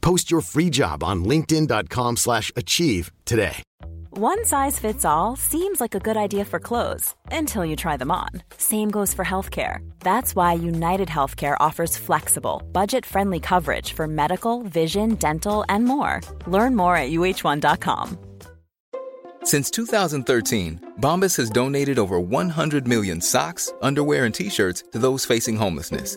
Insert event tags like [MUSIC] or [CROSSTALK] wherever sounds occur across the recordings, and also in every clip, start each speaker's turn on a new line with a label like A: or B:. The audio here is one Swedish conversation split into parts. A: Post your free job on linkedin.com/achieve slash achieve today.
B: One size fits all seems like a good idea for clothes until you try them on. Same goes for healthcare. That's why United Healthcare offers flexible, budget friendly coverage for medical, vision, dental, and more. Learn more at uh1.com.
C: Since 2013, Bombas has donated over 100 million socks, underwear, and t shirts to those facing homelessness.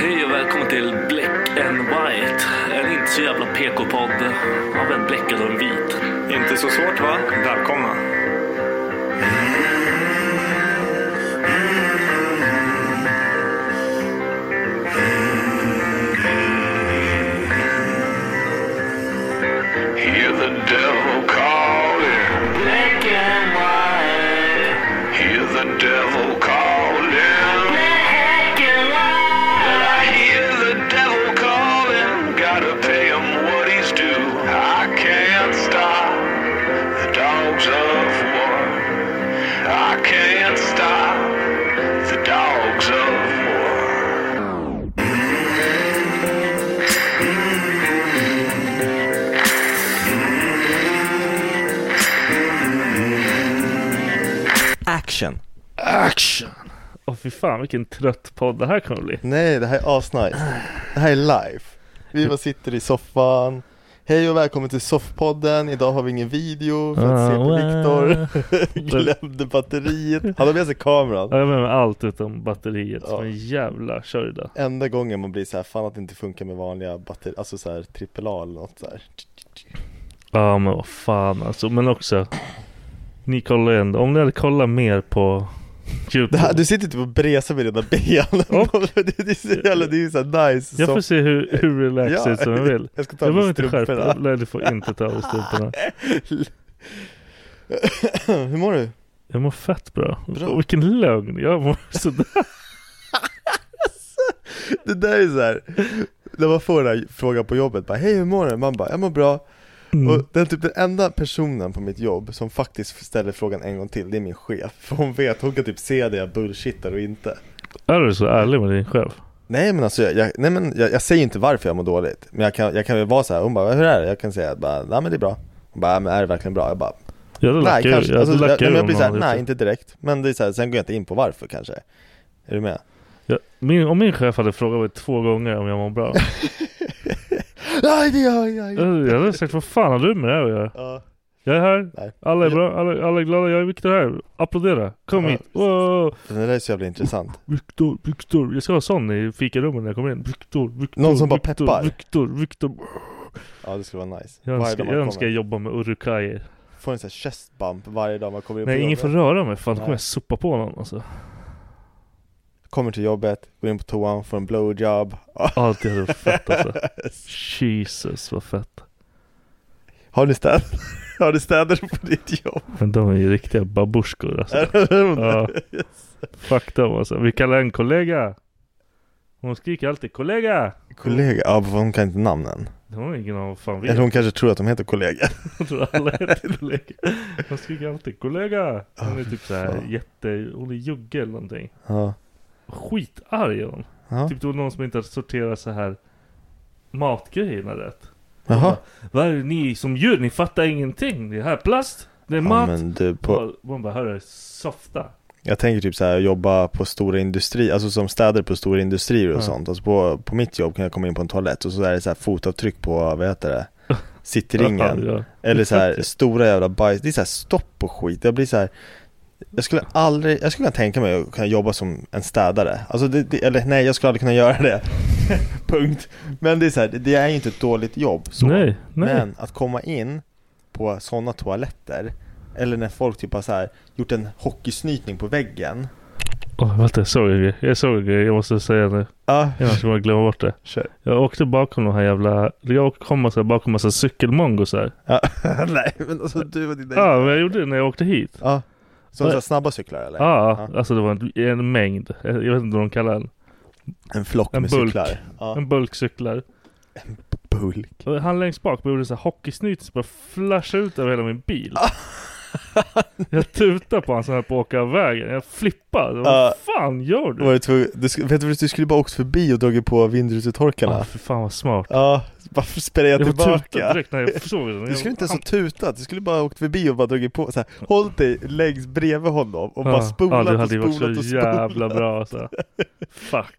D: Hej och välkommen till Black and White. En inte så jävla PK-podd av en bläckad och en vit.
E: Inte så svårt va? Välkomna.
F: Hear the devil calling. Black and white. Hear the devil calling. Black and white. I hear the devil calling. Gotta pay him what he's due. I can't stop the dogs of war. I can't stop the dogs of war.
G: Action.
D: Action! Åh fy fan vilken trött podd det här kommer bli.
G: Nej, det här är asnice. Det här är live. Vi bara sitter i soffan. Hej och välkommen till Soffpodden. Idag har vi ingen video för att se på
D: Ah,
G: Viktor.
D: wow.
G: [LAUGHS] Glömde batteriet. Han har med sig kameran.
D: Eh. Ja, Jag är med mig allt utom batteriet
G: Ja.
D: som en jävla körda.
G: Enda gången man blir så här, fan att det inte funkar med vanliga batterier, alltså så här trippel A eller något så här.
D: Ja men vad fan alltså. Men också. Ni kollar ju ändå. Om ni hade kollat mer på [LAUGHS]
G: Det
D: YouTube.
G: här du sitter typ och bresar med dina [LAUGHS] ben.
D: Och-
G: det, är så jävla, det är ju så här nice.
D: Jag får
G: soff-
D: se hur, hur relaxad som jag
G: [LAUGHS]
D: vill.
G: Jag ska ta
D: Du
G: av
D: behöver
G: mig
D: inte skärpa
G: strumporna.
D: [LAUGHS] Nej du får inte ta av dig strumporna.
G: Hur mår du?
D: Jag mår fett bra.
G: Bra.
D: Och vilken lögn. Jag mår sådär.
G: [LAUGHS] Det där är så här. när man får den här frågan på jobbet, bara hej hur mår du? Man bara, jag mår bra.
D: Mm.
G: Och den, typ, den enda personen på mitt jobb som faktiskt ställer frågan en gång till, det är min chef. För hon vet, hon kan typ se det jag bullshittar och inte.
D: Är du så ärlig med din chef?
G: Nej men alltså, jag, jag, nej, men jag, jag säger ju inte varför jag mår dåligt. Men jag kan, jag kan väl vara så här, hon bara, hur är det? Jag kan säga, bara, nej men det är bra. Hon bara, men är det verkligen bra? Jag bara,
D: Jag hade
G: nej
D: lackat ur.
G: kanske.
D: Jag
G: Alltså,
D: hade
G: jag,
D: lackat
G: nej, men
D: ur
G: jag blir
D: om
G: så här,
D: han hade
G: nej
D: gjort
G: inte direkt. Men det är så här, sen går jag inte in på varför kanske. Är du med?
D: det. Ja, min, om min chef hade frågat mig två gånger om jag mår bra.
G: [LAUGHS] Nej det gör jag inte.
D: jag hade sagt vad fan har du med det här att göra?
G: Ja.
D: Jag är här.
G: Nej.
D: Alla är bra. Alla, alla är glada. Jag är Viktor här. Applådera. Kom
G: Ja,
D: hit.
G: precis.
D: Wow.
G: Det där är så jävla intressant.
D: Viktor, Viktor. Jag ska ha sån i fikarummet när jag kommer in. Viktor, Viktor.
G: Någon som bara
D: Viktor,
G: peppar.
D: Viktor, Viktor.
G: Ja det skulle vara nice.
D: Jag
G: Varje
D: önskar
G: dag man
D: jag, önskar
G: kommer.
D: jag jobba med urukajer.
G: Får en sån här chest bump varje dag man kommer in på
D: Nej, ingen
G: jobbet.
D: får röra mig. Fan, då kommer
G: Nej.
D: jag sopa på någon alltså.
G: Kommer till jobbet, går in på toan, får en blowjob
D: [LAUGHS] Allt det hade varit fett
G: [LAUGHS]
D: alltså. Jesus vad fett.
G: Har ni städ? [LAUGHS] Har ni städer på ditt jobb?
D: Men de är ju riktiga babusjkor alltså. Ja. Fuck dem alltså. Vi kallar en kollega. Hon skriker alltid kollega.
G: Kollega? Ja, för hon kan inte namnen
D: Hon har ingen aning om vad fan vi
G: Eller
D: är.
G: hon kanske tror att de heter kollega
D: Hon tror alla heter kollega. Hon skriker alltid kollega. Hon är
G: Ah,
D: typ såhär
G: fan.
D: jätte... Hon är jugge eller någonting.
G: Ja,
D: Skitarg är hon.
G: ja.
D: Typ det var någon som inte hade sorterat så här matgrejerna rätt.
G: jaha
D: Vad är det ni som djur? Ni fattar ingenting. Det här är plast. Det är
G: Ja,
D: mat.
G: men du, på,
D: Och Man bara, hörru, softa.
G: jag tänker typ så här, jobba på stora industrier, alltså som städer på stora industrier och
D: Ja.
G: sånt. Alltså på, på mitt jobb kan jag komma in på en toalett och så är det så här fotavtryck på, vad heter
D: [LAUGHS]
G: det? Sittringen.
D: Ja,
G: Eller så här
D: Exakt.
G: stora jävla bajs, det är så här stopp på skit. Jag blir så här. Jag skulle aldrig, jag skulle kunna tänka mig att kunna jobba som en städare. Alltså det, det, eller nej, jag skulle aldrig kunna göra det. [LAUGHS] Punkt. Men det är så här, det, det är ju inte ett dåligt jobb. Så.
D: Nej, nej.
G: Men att komma in på sådana toaletter, eller när folk typ har så här, gjort en hockeysnytning på väggen.
D: Åh, vänta, jag såg en grej. Jag såg en grej. Jag måste säga nu.
G: Ja,
D: Jag måste bara glömma bort det.
G: kör.
D: Jag åkte bakom de här jävla... Jag kom massa, bakom massa cykelmongosar.
G: Ja, [LAUGHS] nej, men alltså du och dina...
D: Ja, men jag gjorde det när jag åkte hit.
G: Ja. Som så här snabba cyklar eller?
D: Ja, alltså det var en, en mängd. Jag vet inte vad de kallar den.
G: En flock
D: En
G: med
D: bulk.
G: cyklar. Ja.
D: En bulkcyklar.
G: Bulk.
D: Och han längst bak bara gjorde så här hockeysnyt som bara flashade ut över hela min
G: [LAUGHS]
D: bil. jag tutade på honom så här på att åka av vägen. Jag flippade. Vad
G: Ja.
D: fan gör
G: Då
D: du?
G: Var du tvungen, du, sk- vet du, vad, du skulle bara åkt förbi och dragit på vindrutetorkarna
D: Ah, för fan vad smart.
G: Ja, varför sprayade jag
D: Jag tutade
G: tillbaka?
D: direkt när jag såg den.
G: Du skulle inte ens ha tutat, du skulle bara ha åkt förbi och bara dragit på så här, Håll dig längst bredvid honom och bara spolat
D: det
G: och
D: hade ju varit
G: spolat
D: så
G: och spolat
D: jävla bra alltså.
G: [LAUGHS]
D: Fuck,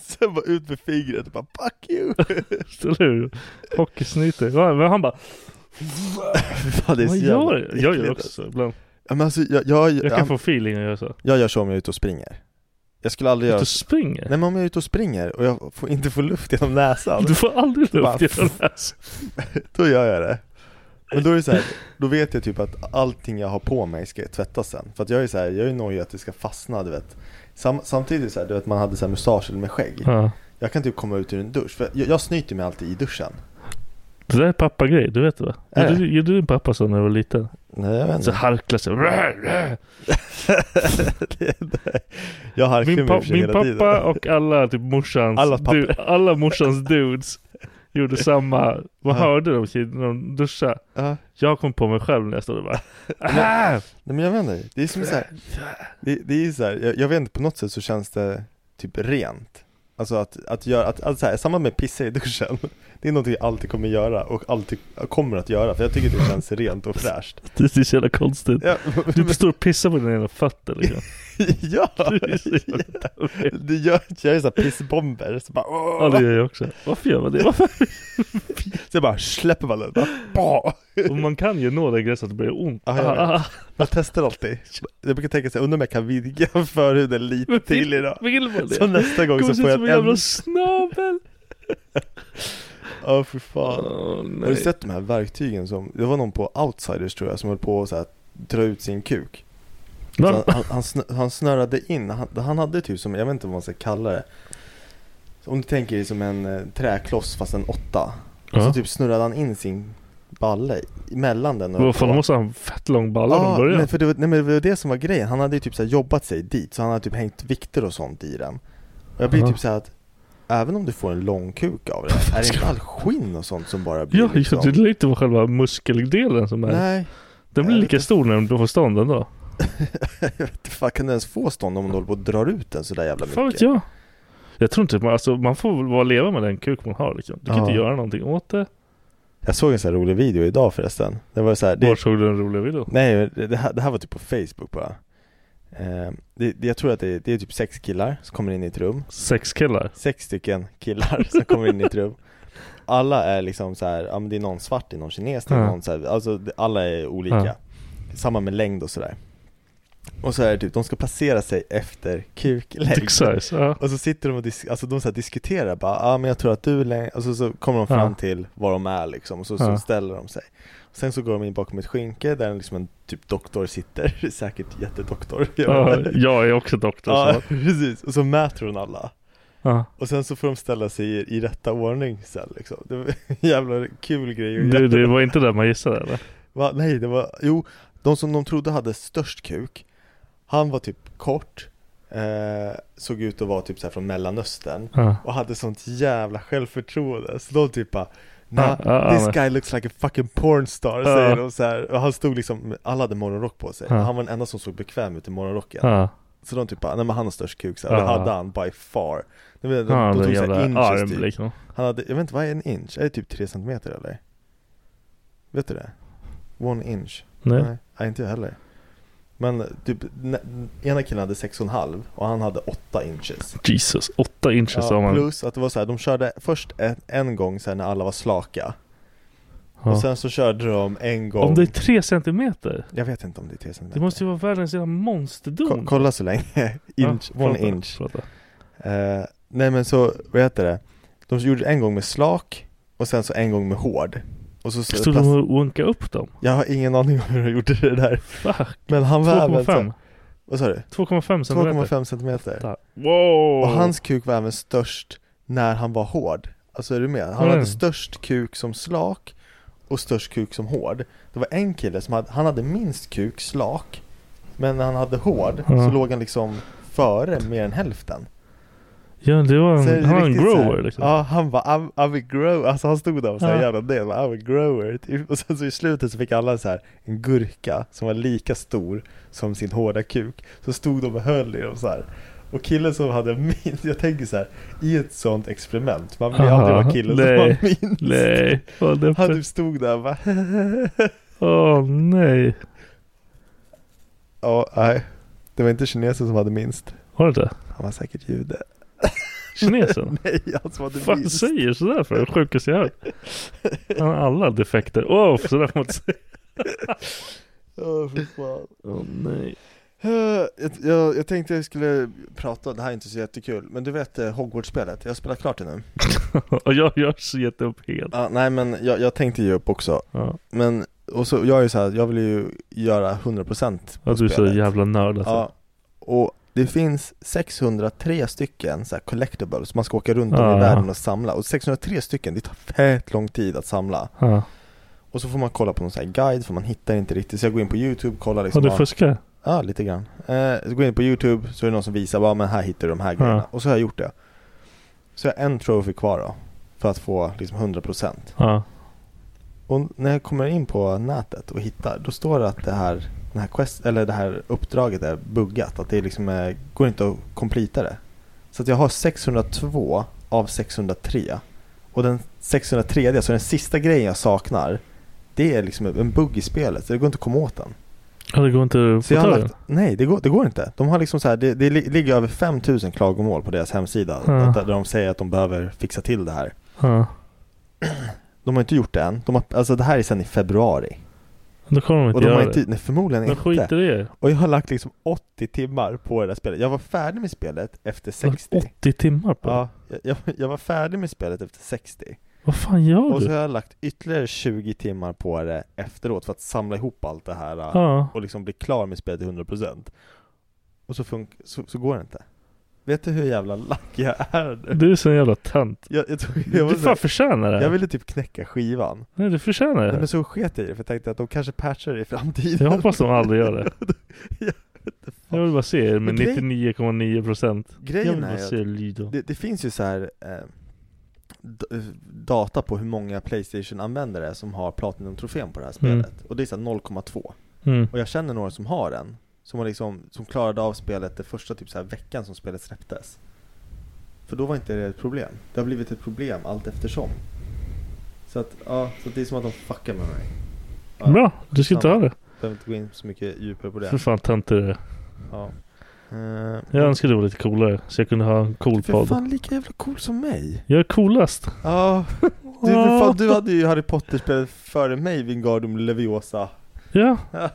G: Sen bara ut med fingret och bara 'fuck you'
D: eller hur? Hockeysnyter. Ja, Men han bara,
G: Fy fan, det är så
D: vad
G: jävla
D: gör du? Jag gör
G: äckligt.
D: också ibland.
G: ja, men alltså, jag, jag,
D: Jag
G: jag,
D: kan
G: jag,
D: få feeling och göra så.
G: gör så om jag är ute och springer Jag skulle aldrig
D: Att
G: göra
D: du
G: så.
D: springer.
G: Nej men om jag är ute och springer och jag får, inte får luft genom näsan
D: Du får aldrig
G: Bara-
D: luft i den här.
G: Då gör jag det. Men då är det så [LAUGHS] här, då vet jag typ att allting jag har på mig ska tvättas sen. För att jag är så här, jag är nojig att det ska fastna du vet. Sam, samtidigt så här, du vet man hade så här mustasch eller med skägg.
D: Ja.
G: Jag kan typ komma ut ur en dusch. För jag, jag snyter mig alltid i duschen.
D: Det där är pappagrej, du vet det va?
G: Är
D: Gjorde, gjorde din pappa så när du var liten?
G: Nej jag vet
D: Så harklade
G: [LAUGHS]
D: sig. Rör, rör.
G: jag harklar
D: Min,
G: mig i
D: pa
G: och för sig
D: min
G: hela
D: pappa
G: tiden. [LAUGHS]
D: och alla typ morsans,
G: Alla pappor.
D: du, [LAUGHS] alla morsans dudes gjorde samma. Vad hörde de kid, när de duschade?
G: Ja.
D: Jag kom på mig själv när jag stod där
G: [LAUGHS]
D: bara. "Ah!"
G: Nej men jag vet inte. Det är som så här, det, det är så här, jag, jag vet inte, på något sätt så känns det typ rent. Alltså att, att göra, att, att så här, samma med pissa i duschen. Det är någonting jag alltid kommer göra och alltid kommer att göra. För jag tycker det känns rent [LAUGHS] och fräscht.
D: Det är så jävla konstigt.
G: Ja,
D: Du står och pissar på dina jävla fötter liksom.
G: [LAUGHS] ja,
D: Det är så jävla
G: [LAUGHS] ja. Det gör, jag är såhär pissbomber, så bara, åh.
D: Ja det gör jag också. Varför gör man det? Varför?
G: så jag bara [LAUGHS] släpper man den, bara, bah.
D: Och man kan ju nå den gränsen att det börjar ont.
G: Ja, jag vet.
D: Ah,
G: Jag testar alltid. Jag brukar tänka såhär, undrar om jag kan vidga förhuden lite till idag.
D: Vill man det?
G: Så nästa gång
D: Kommer se
G: så får
D: ut som
G: jag
D: en
G: en
D: jävla
G: ännu,
D: snabel.
G: [LAUGHS] ja fy fan.
D: Åh,
G: Har du
D: nej.
G: sett de här verktygen som, det var någon på Outsiders tror jag som höll på att så här, dra ut sin kuk. Så
D: Va?
G: han, han, han, snö, han snörade in, han, han hade typ som, jag vet inte vad man ska kalla det. Om du tänker dig som en eh, träkloss fast en åtta. Och så
D: Ja.
G: typ snurrade han in sin balle i- mellan den
D: Vad fan, då måste han ha fett lång balla från
G: Ja,
D: början.
G: men för det var, nej, men det var det som var grejen. Han hade ju typ så här jobbat sig dit, så han hade typ hängt vikter och sånt i den. Och jag blir
D: Ja.
G: typ så här att även om du får en lång kuk av
D: [LAUGHS]
G: det, är det inte all skinn och sånt som bara blir
D: Ja, just det. Det är inte själva muskeldelen som är.
G: Nej,
D: den blir
G: jag
D: lika
G: vet
D: stor när du får stånd ändå.
G: jag vet inte, fan, kan du ens få stånd om du håller på och drar ut den sådär jävla mycket?
D: Fan vet jag. Jag tror inte man, alltså, man får väl bara leva med den kuk man har liksom. Du kan
G: Ja.
D: inte göra någonting åt det.
G: Jag såg en sån här rolig video idag förresten. Det var så här, det,
D: Var såg du den roliga videon?
G: Nej, det det här, det här var typ på Facebook bara. Eh, det, det, jag tror att det, det är typ sex killar som kommer in i ett rum.
D: Sex killar.
G: Sex stycken killar [LAUGHS] som kommer in i ett rum. Alla är liksom så här, ja men det är någon svart, det är någon kines, det är
D: Ja.
G: någon så här, alltså det- alla är olika.
D: Ja.
G: Samma med längd och sådär. Och så är det typ, de ska placera sig efter kuklängd.
D: Dick size. Ja.
G: Och så sitter de och dis- alltså de så här diskuterar bara, ja ah, men jag tror att du är längre, alltså så kommer de fram
D: Ja.
G: till var de är liksom, och så, så
D: Ja.
G: ställer de sig Sen så går de in bakom ett skynke där liksom en typ doktor sitter, [LAUGHS] säkert jättedoktor Jag
D: Ja,
G: vet inte.
D: jag är också doktor.
G: Ja,
D: Så.
G: precis, och så mäter hon alla
D: Ja.
G: Och sen så får de ställa sig i, i rätta ordning sen liksom Det var en jävla kul grej att
D: Det,
G: göra.
D: det var inte där man gissade eller?
G: Va? Nej det var, jo, de som de trodde hade störst kuk Han var typ kort eh, Såg ut att vara typ så här från mellanöstern
D: Ja.
G: och hade sånt jävla självförtroende Så de typ bara Nah,
D: Ja, ja,
G: this
D: men-
G: guy looks like a fucking pornstar
D: Ja.
G: säger de så här. Och han stod liksom, alla hade morgonrock på sig
D: Ja.
G: Han var den enda som såg bekväm ut i morgonrocken
D: Ja.
G: Så de typ bara, nej men han har störst kuk så här. Och
D: Ja.
G: det hade han by far De, de, de,
D: Ja,
G: de
D: den
G: tog
D: jävla
G: såhär
D: arm
G: inches typ
D: liksom.
G: Han hade, jag vet inte vad är en inch? Är det typ 3 centimeter eller? Vet du det? One inch
D: Nej.
G: Nej, inte jag heller. Men typ, ne- ena killen hade 6,5 och han hade 8 inches.
D: Jesus, 8 inches har
G: Ja,
D: man.
G: plus att det var så här, de körde först en, en gång sen när alla var slaka.
D: Ja.
G: Och sen så körde de en gång.
D: Om det är 3 centimeter.
G: Jag vet inte om det är 3 centimeter.
D: Det måste ju vara världens jävla monsterdom.
G: Ko- kolla så länge. [LAUGHS] inch,
D: Mm. Ja,
G: one
D: prata,
G: inch.
D: prata.
G: Eh, nej men så, vad heter det? De gjorde en gång med slak och sen så en gång med hård. Och så, så
D: Stod de och unkade upp dem?
G: Jag har ingen aning om hur de gjorde det där.
D: Fuck.
G: Men han var även... så-
D: 2,5.
G: Vad sa du?
D: 2,5 centimeter.
G: 2,5 centimeter.
D: Wow!
G: Och hans kuk var även störst när han var hård. Alltså är du med? Han
D: Mm.
G: hade störst kuk som slak och störst kuk som hård. Det var en kille som hade, han hade minst kuk slak. Men när han hade hård
D: Ja.
G: så låg han liksom före mer än hälften.
D: Ja, det var
G: Så är
D: en,
G: det
D: han var en
G: riktigt så här-
D: grower liksom.
G: Ja, han var I'm, I'm a grower. Alltså han stod där och så här
D: Ja.
G: jävla del, I'm a grower. Typ. Och sen så i slutet så fick alla så här en gurka som var lika stor som sin hårda kuk. Så stod de och höll i dem så här. Och killen som hade minst, jag tänker så här, i ett sånt experiment, man vill ju aldrig
D: Aha,
G: vara killen
D: nej,
G: som har minst.
D: Nej, vad det
G: Han
D: för...
G: typ stod där och bara [LAUGHS]
D: Åh nej.
G: Ja, nej. Det var inte kinesen som hade minst.
D: Var det det?
G: Han var säkert jude.
D: Kinesen?
G: Nej, han som hade
D: Fan
G: minst.
D: säger sådär för? Det sjukaste jag hört. Han har alla defekter. Åh, sådär får man inte säga.
G: Åh, fy fan.
D: Åh nej.
G: Eh, Jag, jag, jag tänkte jag skulle prata, det här är inte så jättekul, men du vet eh, Hogwarts-spelet, jag har spelat klart det nu
D: [LAUGHS] Och jag, jag har gett upp helt.
G: Ja, Nej men jag, jag tänkte ge upp också,
D: Ja,
G: men och så, jag är ju så här, jag vill ju göra 100% på
D: att du är så
G: spelet.
D: jävla nörd alltså.
G: Ja, och det finns 603 stycken så här collectibles, man ska åka runt om
D: Ja,
G: i
D: ja.
G: världen och samla, och 603 stycken, det tar fett lång tid att samla
D: Ja.
G: Och så får man kolla på någon sån här guide, för man hittar inte riktigt, så jag går in på youtube, kollar
D: Har
G: liksom
D: du
G: ja.
D: fuskat?
G: Ja, lite grann. Eh, så går jag in på Youtube så är det någon som visar bara men här hittar du de här
D: Ja.
G: grejerna. Och så har jag gjort det. Så jag har en trophy kvar då. För att få liksom 100%.
D: Ja.
G: Och när jag kommer in på nätet och hittar, då står det att det här, den här quest, eller det här uppdraget är buggat. Att det liksom eh, går inte att completa det. Så att jag har 602 av 603. Och den 603, alltså den sista grejen jag saknar, det är liksom en bugg i spelet. Så det går inte att komma åt den.
D: Ja, det går inte att
G: Så
D: få
G: jag har
D: tag i den?
G: lagt, nej, det går, det går inte. De har liksom så här, det, det li- ligger över 5000 klagomål på deras hemsida.
D: Ja.
G: att- Där de säger att de behöver fixa till det här.
D: Ja.
G: De har inte gjort det än. De har, alltså det här är sedan i februari.
D: Då kommer de
G: Och
D: inte
G: de har
D: göra det.
G: inte, nej, förmodligen
D: De
G: inte.
D: skiter i er.
G: Och jag har lagt liksom 80 timmar på det där spelet. Jag var färdig med spelet efter 60.
D: 80 timmar på det.
G: Ja, jag- jag, jag var färdig med spelet efter 60.
D: Vad fan gör
G: Och så
D: du?
G: har jag lagt ytterligare 20 timmar på det efteråt för att samla ihop allt det här.
D: Ja.
G: och liksom bli klar med spelet till 100% Och så, fun- så, så går det inte Vet du hur jävla lack jag är nu?
D: Du är så en jävla tönt.
G: Jag, [LAUGHS] jag, tog, jag,
D: Du
G: var så här,
D: fan förtjänar det.
G: jag
D: här.
G: ville typ knäcka skivan
D: Nej, du förtjänar det.
G: Nej,
D: här.
G: Men så sket jag i det för jag tänkte att de kanske patchar det i framtiden
D: Jag hoppas de aldrig gör
G: [LAUGHS]
D: det.
G: Jag
D: Jag vill bara se er med
G: Men grej-
D: 99,9 procent. Jag vill
G: Grejen
D: bara
G: är
D: se
G: att
D: er lyda.
G: det, det finns ju så här eh, d-
H: eh,
G: Data på hur många Playstation-användare som har Platinum-trofén på det här spelet Och det är så här 0,2
D: Mm.
G: Och jag känner några som har den Som, har liksom, som klarade av spelet det första typ så här veckan som spelet släpptes För då var inte det ett problem Det har blivit ett problem allt eftersom Så att, ja, så att det är som att de fuckar med mig ja,
D: Bra, du ska inte ha det.
G: Behöver inte gå in så mycket djupare på
D: För
G: det
D: fan töntig du är.
G: ja. Eh,
D: Jag önskar du var lite coolare så jag kunde ha en cool
G: För
D: podd.
G: fan lika jävla cool som mig
D: Jag är coolast.
G: Ja, du, för fan, du hade ju Harry Potter-spelet före mig, Wingardium Leviosa
D: Ja,
G: Ja,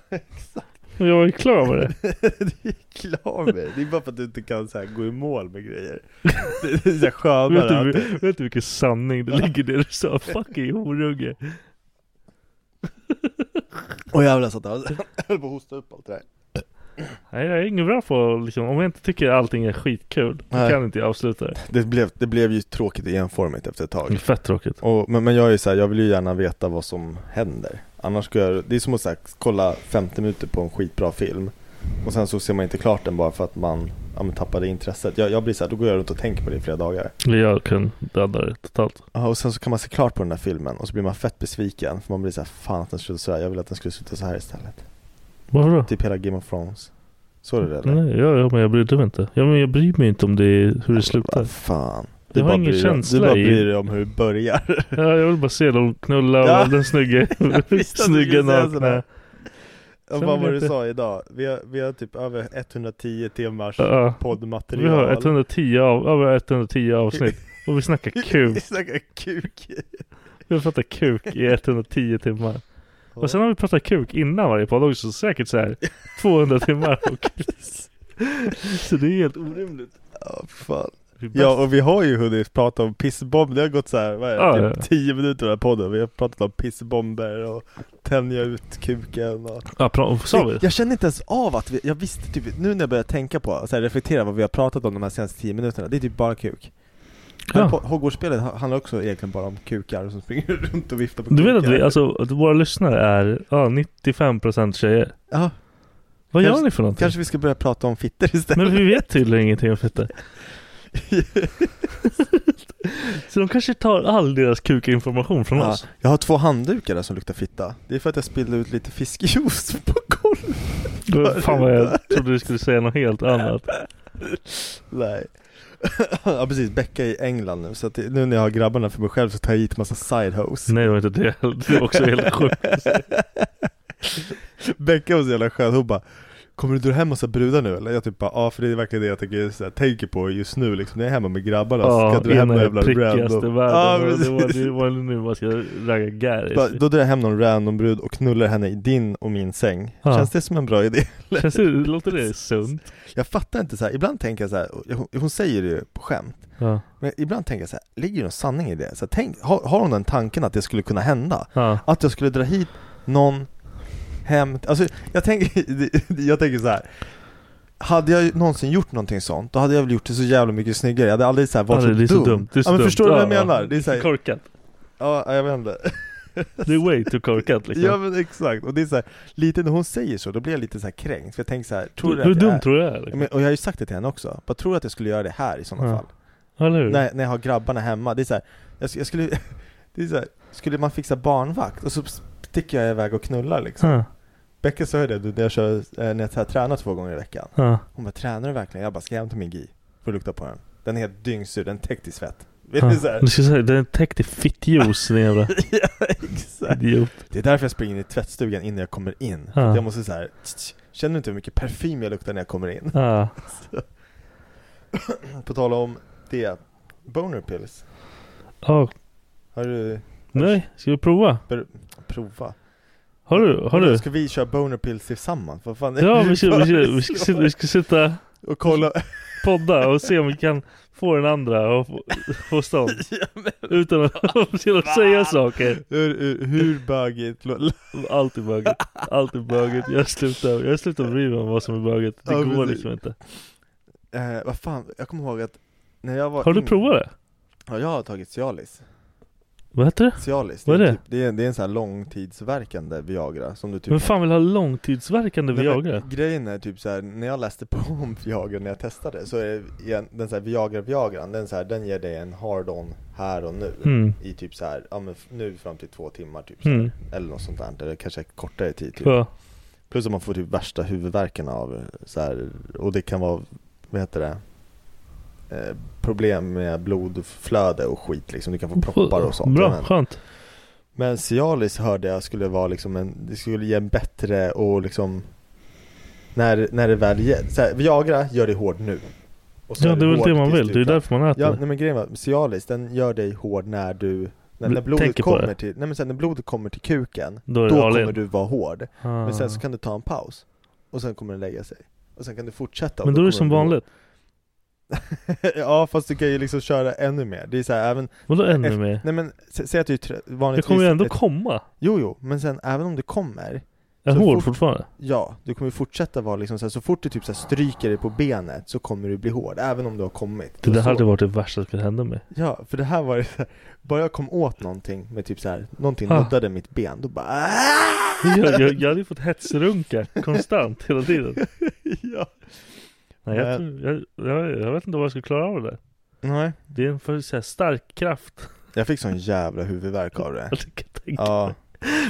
G: [LAUGHS]
D: jag var ju klar med det.
G: det är klar med det. Det är bara för att du inte kan så här, gå i mål med grejer. Det är så här
D: Vet
G: skönare.
D: du,
G: att-
D: vil- vet du vilken sanning det ligger i det du sa? Fucking horunge.
G: [LAUGHS] Åh jävlar satt jag jag höll på att hosta upp allt det där.
D: Nej, jag är ingen bra på liksom, om jag inte tycker allting är skitkul, då
G: Nej.
D: kan inte jag avsluta det.
G: Det blev, det blev ju tråkigt och enformigt efter ett
D: Det är
G: tag.
D: fett tråkigt.
G: Och, men, men jag är ju så här, jag vill ju gärna veta vad som händer. Annars skulle jag, det är som att så här, kolla 50 minuter på en skitbra film. Och sen så ser man inte klart den bara för att man ja, men tappade intresset. Jag, jag blir så här, då går jag runt och tänker på det i flera dagar.
D: Jag kan döda det totalt.
G: Ja, och sen så kan man se klart på den där filmen och så blir man fett besviken. För man blir så här, fan att den slutar så här. Jag vill att den skulle sluta så här istället.
D: Varför då?
G: Typ hela Game of Thrones Såg du det eller?
D: Nej, ja, ja, men jag brydde mig inte. Ja, men jag bryr mig inte om det, är- hur det slutar.
G: Vad fan
D: Jag har
G: bara
D: ingen
G: bryr dig-
D: känsla
G: Du bara
D: i-
G: bryr dig om hur det börjar
D: [LAUGHS] Ja, jag vill bara se dem knulla och
G: Ja.
H: [LAUGHS]
D: den snygge, [LAUGHS]
G: visste att du skulle
D: snygga
G: säga sådär.
D: nakna.
H: Och vad
D: Sen vill
H: var
D: jag
H: det du
D: inte-
H: sa idag? Vi har, vi har typ över 110 timmars
D: Ja.
H: poddmaterial.
D: Vi har 110 av, över
H: [LAUGHS]
D: 110 avsnitt och vi snackar
H: Vi
D: kuk.
H: snackar kuk.
D: Vi har pratat kuk i 110 timmar.
H: Ja.
D: Och sen har vi pratat kuk innan varje podd också, så säkert
H: [LAUGHS]
D: så här 200 timmar. Och så det är helt orimligt.
H: Ja, fan.
D: Det är bäst.
H: ja, och vi har ju hunnit prata om pissbomb. Det har gått så här, vad är det,
D: Ja,
H: typ
D: ja.
H: 10 minuter i den här podden. Vi har pratat om pissbomber och tänja ut kuken och...
D: ja, pra- sa vi?
H: Jag känner inte ens av att vi, jag visste typ, nu när jag börjar tänka på, så här, reflektera vad vi har pratat om de här senaste 10 minuterna, det är typ bara kuk. Men
D: Ja.
H: på- Hogwarts-spelet ha- handlar också egentligen bara om kukar som springer [LAUGHS] runt och viftar på
D: Du vet
H: kukar.
D: att vi, alltså att våra lyssnare är ja, 95% tjejer.
H: Ja,
D: Vad
H: Kanske-
D: gör ni för någonting?
H: kanske vi ska börja prata om fitter istället.
D: Men vi vet tydligen ingenting om fitta.
H: [LAUGHS]
D: så de kanske tar all deras kukinformation från
H: Ja,
D: oss.
H: jag har två handdukar där som luktar fitta. Det är för att jag spillde ut lite fiskjuice på golvet.
D: Fan vad jag trodde du skulle säga något helt annat.
H: [LAUGHS] Nej. [LAUGHS] ja precis, Becka är i England nu. Så att det- nu när jag har grabbarna för mig själv så tar jag hit massa sidehose.
D: Nej det var inte det. Det är också helt sjukt.
H: Becka var så jävla skön, hon bara Kommer du dra hem massa brudar nu eller? Jag typ bara ja för det är verkligen det jag tänker, så här, tänker på just nu liksom När [LAUGHS] jag är hemma med grabbarna så
D: Ja,
H: ska du hem
D: ena
H: någon
D: är
H: jävla
D: prickigaste
H: random
D: världen.
H: Ja,
D: och det, var,
H: precis.
D: det var nu man ska ragga
H: Bara,
D: Gary.
H: Då drar jag hem någon random brud och knullar henne i din och min säng
D: Ja.
H: Känns det som en bra idé?
D: Känns det, låter det sunt?
H: Jag fattar inte så här. ibland tänker jag så här, och hon, hon säger det ju på skämt
D: Ja.
H: Men ibland tänker jag så här, ligger det någon sanning i det? Så här, tänk, har, har hon den tanken att det skulle kunna hända?
D: ja.
H: Att jag skulle dra hit någon hem, alltså jag tänker, jag tänker [LAUGHS] så här. Hade jag någonsin gjort någonting sånt, då hade jag väl gjort det så jävla mycket snyggare Jag hade aldrig så här varit
D: Ja, det, det är
H: så dum,
D: Det är så
H: ja, men
D: dumt.
H: Förstår du vad jag
D: Ja,
H: menar? Det är så här,
D: Korkat.
H: ja, jag vet inte
D: Det är way too korkat liksom.
H: Ja men exakt, och det är så här, lite när hon säger så, då blir jag lite så här kränkt För jag tänker så här, tror du
D: Hur
H: att jag
D: dum
H: är?
D: tror du jag är?
H: Ja,
D: Liksom?
H: men, och jag har ju sagt det till henne också, vad tror du att jag skulle göra det här i sådana
D: Ja.
H: fall?
D: Eller hur?
H: när, när jag har grabbarna hemma, det är så här, jag, sk- jag skulle, det är så här, skulle man fixa barnvakt och så sticker jag iväg och knullar [LAUGHS] liksom
D: Ja,
H: Becka sa ju det du, när jag, kör, eh, när jag så här tränar två gånger i veckan
D: ja.
H: Hon bara, tränar du verkligen? Jag bara, ska jag hem till min gi? Får lukta på den Den är helt dyngsur, den är täckt i svett Vet
D: Ja.
H: ni så här?
D: Du ska säga, den är täckt i fittjuice din jävla
H: [LAUGHS] ja, exakt
D: idiot.
H: Det är därför jag springer in i tvättstugan innan jag kommer in
D: Ja.
H: För att Jag måste så här, tch, tch. Känner du inte hur mycket parfym jag luktar när jag kommer in?
D: Ja.
H: [LAUGHS] På tal om det Boner pills
D: Ja.
H: Har du
D: Nej, ska vi prova?
H: provat?
D: Har du? Har du?
H: Ska vi köra boner pills tillsammans? Vad fan är [LAUGHS]
D: Ja,
H: det
D: vi ska,
H: för
D: vi, ska, vi, ska, sitta- vi ska sitta
H: Och kolla
D: [LAUGHS] podda och se om vi kan få den andra att få-
H: [LAUGHS]
D: få stånd. Utan att [LAUGHS] utan att säga saker.
H: hur, hur, hur bögigt lå-
D: Allt är böget. Allt är böget. Jag slutar, jag slutar bry mig om vad som är böget. Det
H: Ja,
D: går
H: precis.
D: liksom inte.
H: eh, Vad fan, jag kommer ihåg att när jag var
D: Har du
H: yngre-
D: provat det?
H: Ja, jag har tagit Cialis.
D: Vad heter det?
H: Cialis,
D: Vad är
H: en
D: det?
H: Typ, det, är, det är en sån här långtidsverkande Viagra som du typ
D: Vem fan vill ha långtidsverkande
H: Nej, men
D: Viagra?
H: Grejen är typ så här, när jag läste på om Viagra när jag testade så är det igen- den så här Viagra Viagran, den så här, den ger dig en hard-on här och nu
D: Mm.
H: I typ så här, ja men f- nu fram till två timmar typ så här,
D: Mm.
H: Eller något sånt där, eller kanske kortare tid typ
D: Ja.
H: Plus att man får typ värsta huvudvärken av eh, så här, och det kan vara, vad heter det? Eh, problem med blodflöde och skit liksom, du kan få proppar och sånt
D: Bra,
H: Men-
D: skönt.
H: Men Cialis hörde jag skulle vara liksom en, det skulle ge en bättre och liksom när, när det väl ger, så här, Viagra gör dig hård nu Och så
D: Ja, det är väl
H: hård
D: det man
H: tills
D: vill.
H: du
D: Det är
H: klar.
D: därför man äter
H: Ja,
D: det.
H: nej men grejen var, Cialis den gör dig hård när du när, när
D: Bl-
H: blodet
D: tänker på
H: kommer
D: det.
H: till, nej men sen när blodet kommer till kuken
D: Då är
H: Då
D: det all in.
H: kommer du vara hård
D: Ah.
H: Men sen så kan du ta en paus Och sen kommer den lägga sig Och sen kan du fortsätta och
D: Men då är det som
H: kommer den bli
D: vanligt.
H: hård. [LAUGHS] Ja fast du kan ju liksom köra ännu mer Det är så här, även
D: Vadå ännu
H: Efter-
D: mer?
H: Nej men sä- säg att du är trö-
D: Jag
H: vanligtvis
D: kommer ju ändå
H: ett,
D: komma.
H: Jo jo, men sen även om det kommer
D: Jag
H: Så
D: är hård
H: fort-
D: fortfarande.
H: Ja, du kommer fortsätta vara liksom så, här, så fort du typ så här stryker dig på benet så kommer du bli hård, även om du har kommit.
D: Det där
H: Och så,
D: hade varit det värsta som kunde hända mig.
H: Ja, för det här var det så här, bara jag kom åt någonting med typ så här, någonting
D: Ah.
H: nuddade mitt ben, då bara
G: "Äh!"
H: "Ah!"
D: Jag, jag, jag hade ju fått hetsrunka konstant hela tiden.
H: [LAUGHS] ja.
D: Nej, jag, tror, jag, jag, jag vet inte vad jag ska klara av det där.
H: Nej.
D: Det är en för så här, stark kraft. [LAUGHS]
H: Jag fick sån jävla huvudvärk av det.
D: Jag kan tänka.
H: Ja,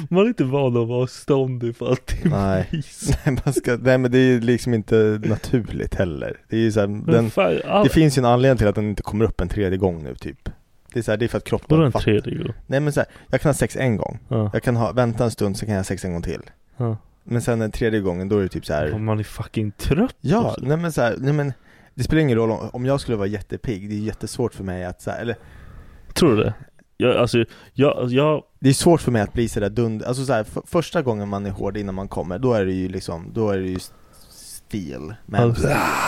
D: Man är inte van att vara ståndig för allting.
H: nej.
D: Vis.
H: nej, [LAUGHS] man ska, nej men det är ju liksom inte naturligt heller. Det är ju så här,
D: Men
H: den,
D: fan, all...
H: det finns ju en anledning till att den inte kommer upp en tredje gång nu typ. Det är, så här, det är för att
D: Vadå en
H: kroppen fattar.
D: tredje gång?
H: Nej men så här, jag kan ha sex en gång,
D: Ja.
H: jag kan ha, vänta en stund så kan jag ha sex en gång till.
D: Ja.
G: Men sen den tredje gången då är det typ så här.
D: Om man är fucking trött alltså.
G: Ja,
D: också.
G: nej men så här, nej men Det spelar ingen roll om, om jag skulle vara jättepigg, det är jättesvårt för mig att så här, eller
D: Tror du det? Jag, alltså, jag, jag,
G: Det är svårt för mig att bli sådär dund, alltså så här, f- första gången man är hård innan man kommer, då är det ju liksom, då är det ju s- stil Men
D: Alltså.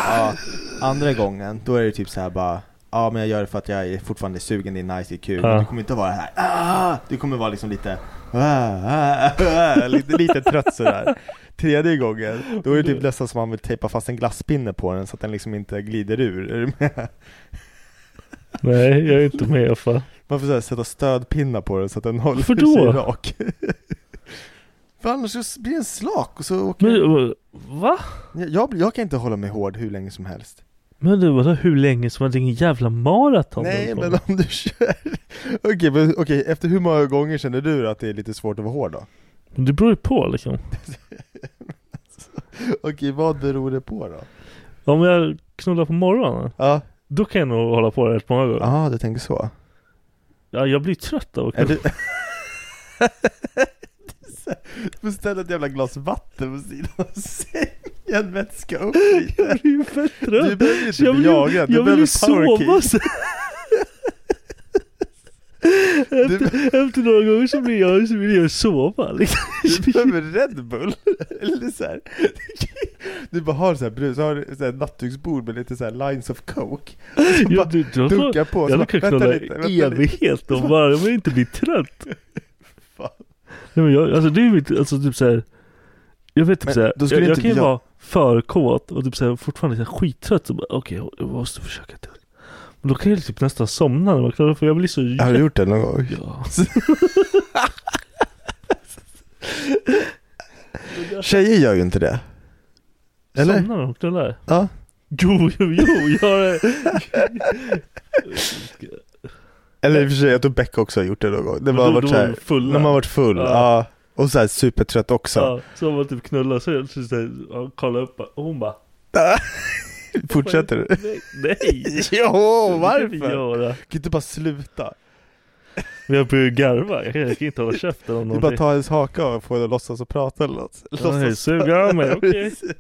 G: ja, andra gången, då är det typ så här bara Ja men jag gör det för att jag är fortfarande sugen, det är nice, det är kul
D: Ja.
G: Du kommer inte vara här ah! Du kommer vara liksom lite ah, ah, ah, lite, lite trött sådär Tredje gången, då är det typ nästan som man vill tejpa fast en glasspinne på den så att den liksom inte glider ur, är du med?
D: [LAUGHS] nej jag är inte med för.
G: Man får så här, sätta stödpinnar på den så att den håller
D: Varför då?
G: sig rak. För annars så blir den slak och så åker
D: Men eh, va?
G: jag, jag, blir- jag kan inte hålla mig hård hur länge som helst.
D: Men du vadå hur länge som helst? Det är ingen jävla maraton
G: Nej
D: du
G: men
D: håller
G: om du kör. Okej, men, okej, efter hur många gånger känner du att det är lite svårt att vara hård då?
D: på med. Det beror ju på liksom.
G: Okej, vad beror det på då?
D: Om jag knullar på morgonen,
G: Ja,
D: då kan jag nog hålla på rätt många gånger.
G: ah, du tänker så.
D: Ja, jag blir trött av att
G: Är
D: knulla.
G: du... Beställ ett jävla glas vatten på sidan av sängen, [LAUGHS] vätska upp lite.
D: Jag blir ju fett trött.
G: Du behöver inte
D: jag
G: bli
D: vill,
G: jagad, du
D: jag vill ju
G: behöver powerkick.
D: sova sen.
G: [LAUGHS]
D: efter, efter några gånger så blir jag, så vill jag sova liksom.
G: Du behöver Red Bull, [LAUGHS] eller så här. [LAUGHS] Du bara har så här brus, så har du så här nattduksbord med lite så här lines of coke Så
D: Jag,
G: bara
D: du, du,
G: dunkar på, så
D: jag
G: bara,
D: kan
G: vänta
D: knulla
G: lite, vänta
D: i evighet och bara, men inte bli trött.
G: [LAUGHS] Fan.
D: Nej, men jag, alltså det är ju mitt, alltså typ såhär jag vet typ
G: Men
D: såhär,
G: då
D: jag,
G: skulle
D: jag
G: inte
D: kan ju
G: jag-
D: vara för kåt och typ såhär fortfarande såhär skittrött så bara okej, jag måste försöka till. Men då kan jag typ nästan somna när man knullar för jag blir så
G: Har du gjort det någon gång?
D: Ja.
G: [LAUGHS] Tjejer gör ju inte det Eller?
D: Somnar när de knullar?
G: Ja,
D: Jo, jo, jo, jag har
G: eller i och för sig, jag tror Becka också har gjort det någon gång När man har
D: då-
G: varit
D: då
G: så
D: var
G: här,
D: de fulla.
G: när man har varit full,
D: Ja.
G: ja, och så här supertrött också
D: ja, så har man typ knullar så jag så såhär, ja, kollar upp och hon bara
G: [LAUGHS] Fortsätter du?
D: [LAUGHS] Nej, nej. Det
G: Jo,
D: kan vi
G: varför?
D: göra.
G: Kan inte bara sluta?
D: Men jag börjar garva, jag kan, jag kan inte hålla käften om
G: Du bara
D: någonting.
G: ta hennes haka och få henne att låtsas och prata eller något
D: Nej,
G: Låtsas
D: sug av mig, okej.
G: [LAUGHS] Precis.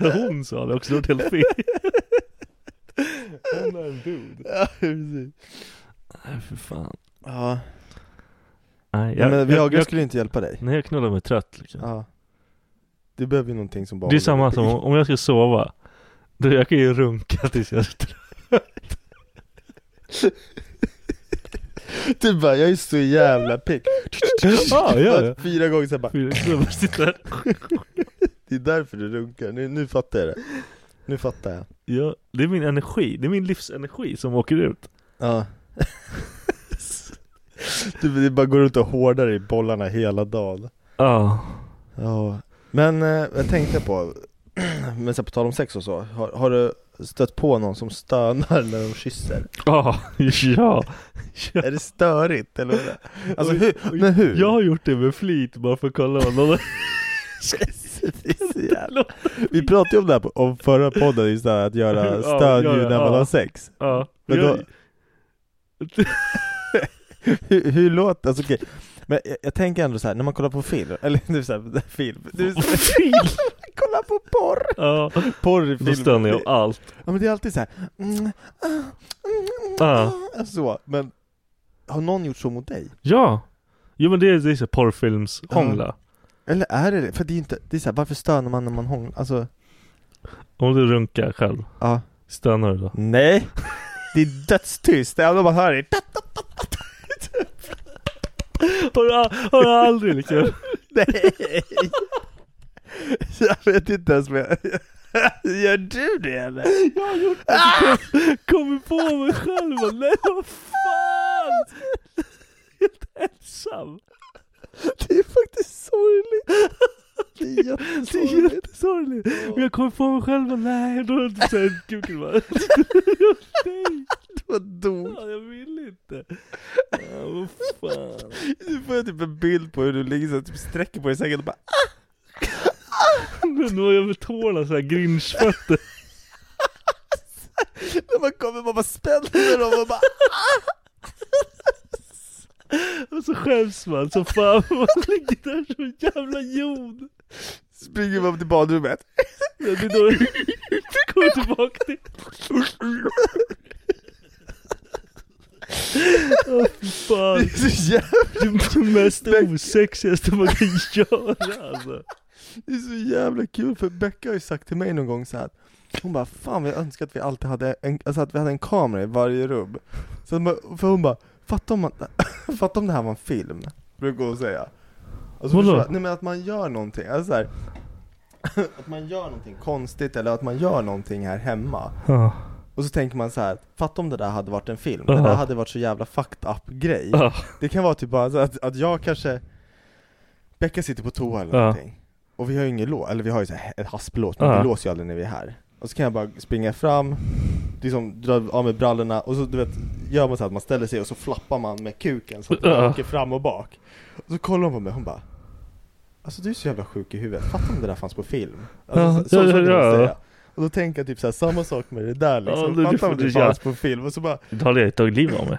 D: [LAUGHS] Hon sa det också, det var helt
G: [LAUGHS]
D: fel. Hon är en dude.
G: Ja, precis
D: Nej, för fan.
G: Ja,
D: Nej,
G: Nej, men Viagra
D: jag,
G: skulle inte hjälpa dig.
D: Nej jag knullar mig trött liksom.
G: Ja. Du behöver ju någonting som bara
D: Det är
G: håller
D: samma
G: dig
D: som
G: pigg.
D: om jag ska sova. Då jag kan ju runka tills jag är trött.
G: [LAUGHS] Du bara, jag är så jävla pigg.
D: Ja, ja, ja.
G: Fyra gånger sen bara,
D: För jag knullar mig sitta här.
G: [LAUGHS] det är därför du runkar. Nu, nu fattar jag det. Nu fattar jag.
D: Ja, det är min energi, det är min livsenergi som åker ut.
G: Ja. Du det bara går runt och hårdar i bollarna hela dagen.
D: Ja.
G: Ja. Men eh, jag tänkte på, men så här, på tal om sex och så, har, har du stött på någon som stönar när de kysser?
D: Ja, [LAUGHS] ja. ja.
G: Är det störigt eller? vad är det? Alltså hur?
D: Och-
G: Men hur?
D: Jag har gjort det med flit bara för att kolla vad
G: [LAUGHS]
D: någon
G: Det är så jävla- Vi pratade ju om det här på, om förra podden, just det här att göra
D: Ja,
G: stödljud
D: göra,
G: när man
D: ja.
G: har sex.
D: Ja.
G: Men då,
D: Jag, [LAUGHS]
G: hur, hur låter, alltså okej. Men jag, jag tänker ändå så här, när man kollar på film, [LAUGHS] eller nu så här, film, nu så här, [LAUGHS]
D: fil!
G: kolla på porr!
D: Ja,
G: Porr i film.
D: då stönar jag av allt.
G: Ja men det är alltid så här. Mm, ah, mm,
D: Ja.
G: ah, så, men har någon gjort så mot dig?
D: Ja! Jo men det är, det är så här porrfilmshångla.
G: Eller är det det? För det är ju inte, det är så här, varför stönar man när man hånglar? Alltså,
D: Om du runkar själv,
G: ja.
D: stönar du då?
G: Nej! Det är dödstyst, även om man hör det.
D: Har du, al- har du aldrig liksom?
G: Nej! Jag vet inte ens vad jag... Gör du det eller?
D: Jag har gjort det! Ah! Kommer på mig själv och nej vad fan! Helt ensam!
G: Det är faktiskt sorgligt. Det är
D: Det är
G: jättesorgligt.
D: jättesorgligt! Men jag kommer på mig själv och nej, då är det såhär kuken
G: [LAUGHS]
D: bara... Nej!
G: Vad dumt.
D: Fan, jag vill inte! Ah, vad fan.
G: Nu får jag typ en bild på hur du ligger så typ sträcker på dig i sängen och bara ah!
D: Nu har jag med tårna såhär grinchfötter.
G: ah! När man kommer man bara spänner dem och bara
D: Och så skäms man så fan, man ligger där som en jävla jon.
G: Springer man till badrummet
D: Det är då det kommer tillbaka till... Åh fy
G: Det
D: fan.
G: är så jävla,
D: Det är det mest osexigaste man kan göra alltså.
G: det är så jävla kul för Becka har ju sagt till mig någon gång så här. Hon bara, fan vi önskar att vi alltid hade en, alltså att vi hade en kamera i varje rum så hon bara, För hon bara, fatta om, man, fatta om det här var en film Brukar hon säga alltså,
D: Vadå?
G: förstår jag- Nej men att man gör någonting, alltså så här, [LAUGHS] Att man gör någonting konstigt eller att man gör någonting här hemma
D: Ja.
G: Och så tänker man så här, fatta om det där hade varit en film, det
D: Ja.
G: där hade varit så jävla fucked up grej
D: Ja.
G: Det kan vara typ bara så att, att jag kanske Becka sitter på toa eller
D: Ja.
G: någonting Och vi har ju ingen lås, eller vi har ju så här ett hasplås, men
D: Ja.
G: vi låser ju aldrig när vi är här Och så kan jag bara springa fram, liksom dra av mig brallorna och så du vet Gör man så här att man ställer sig och så flappar man med kuken så att man
D: Ja.
G: åker fram och bak Och så kollar hon på mig, hon bara Alltså du är så jävla sjuk i huvudet, fatta om det där fanns på film
D: Ja,
G: Alltså, så,
D: ja,
G: så, så,
D: ja,
G: kan
D: ja.
G: man säga och då tänker jag typ såhär, samma sak med det där
D: Ja,
G: liksom,
D: det- det
G: fatta om
D: får
G: det
D: du göra.
G: fanns på film och så bara
D: Då hade jag tagit livet av mig.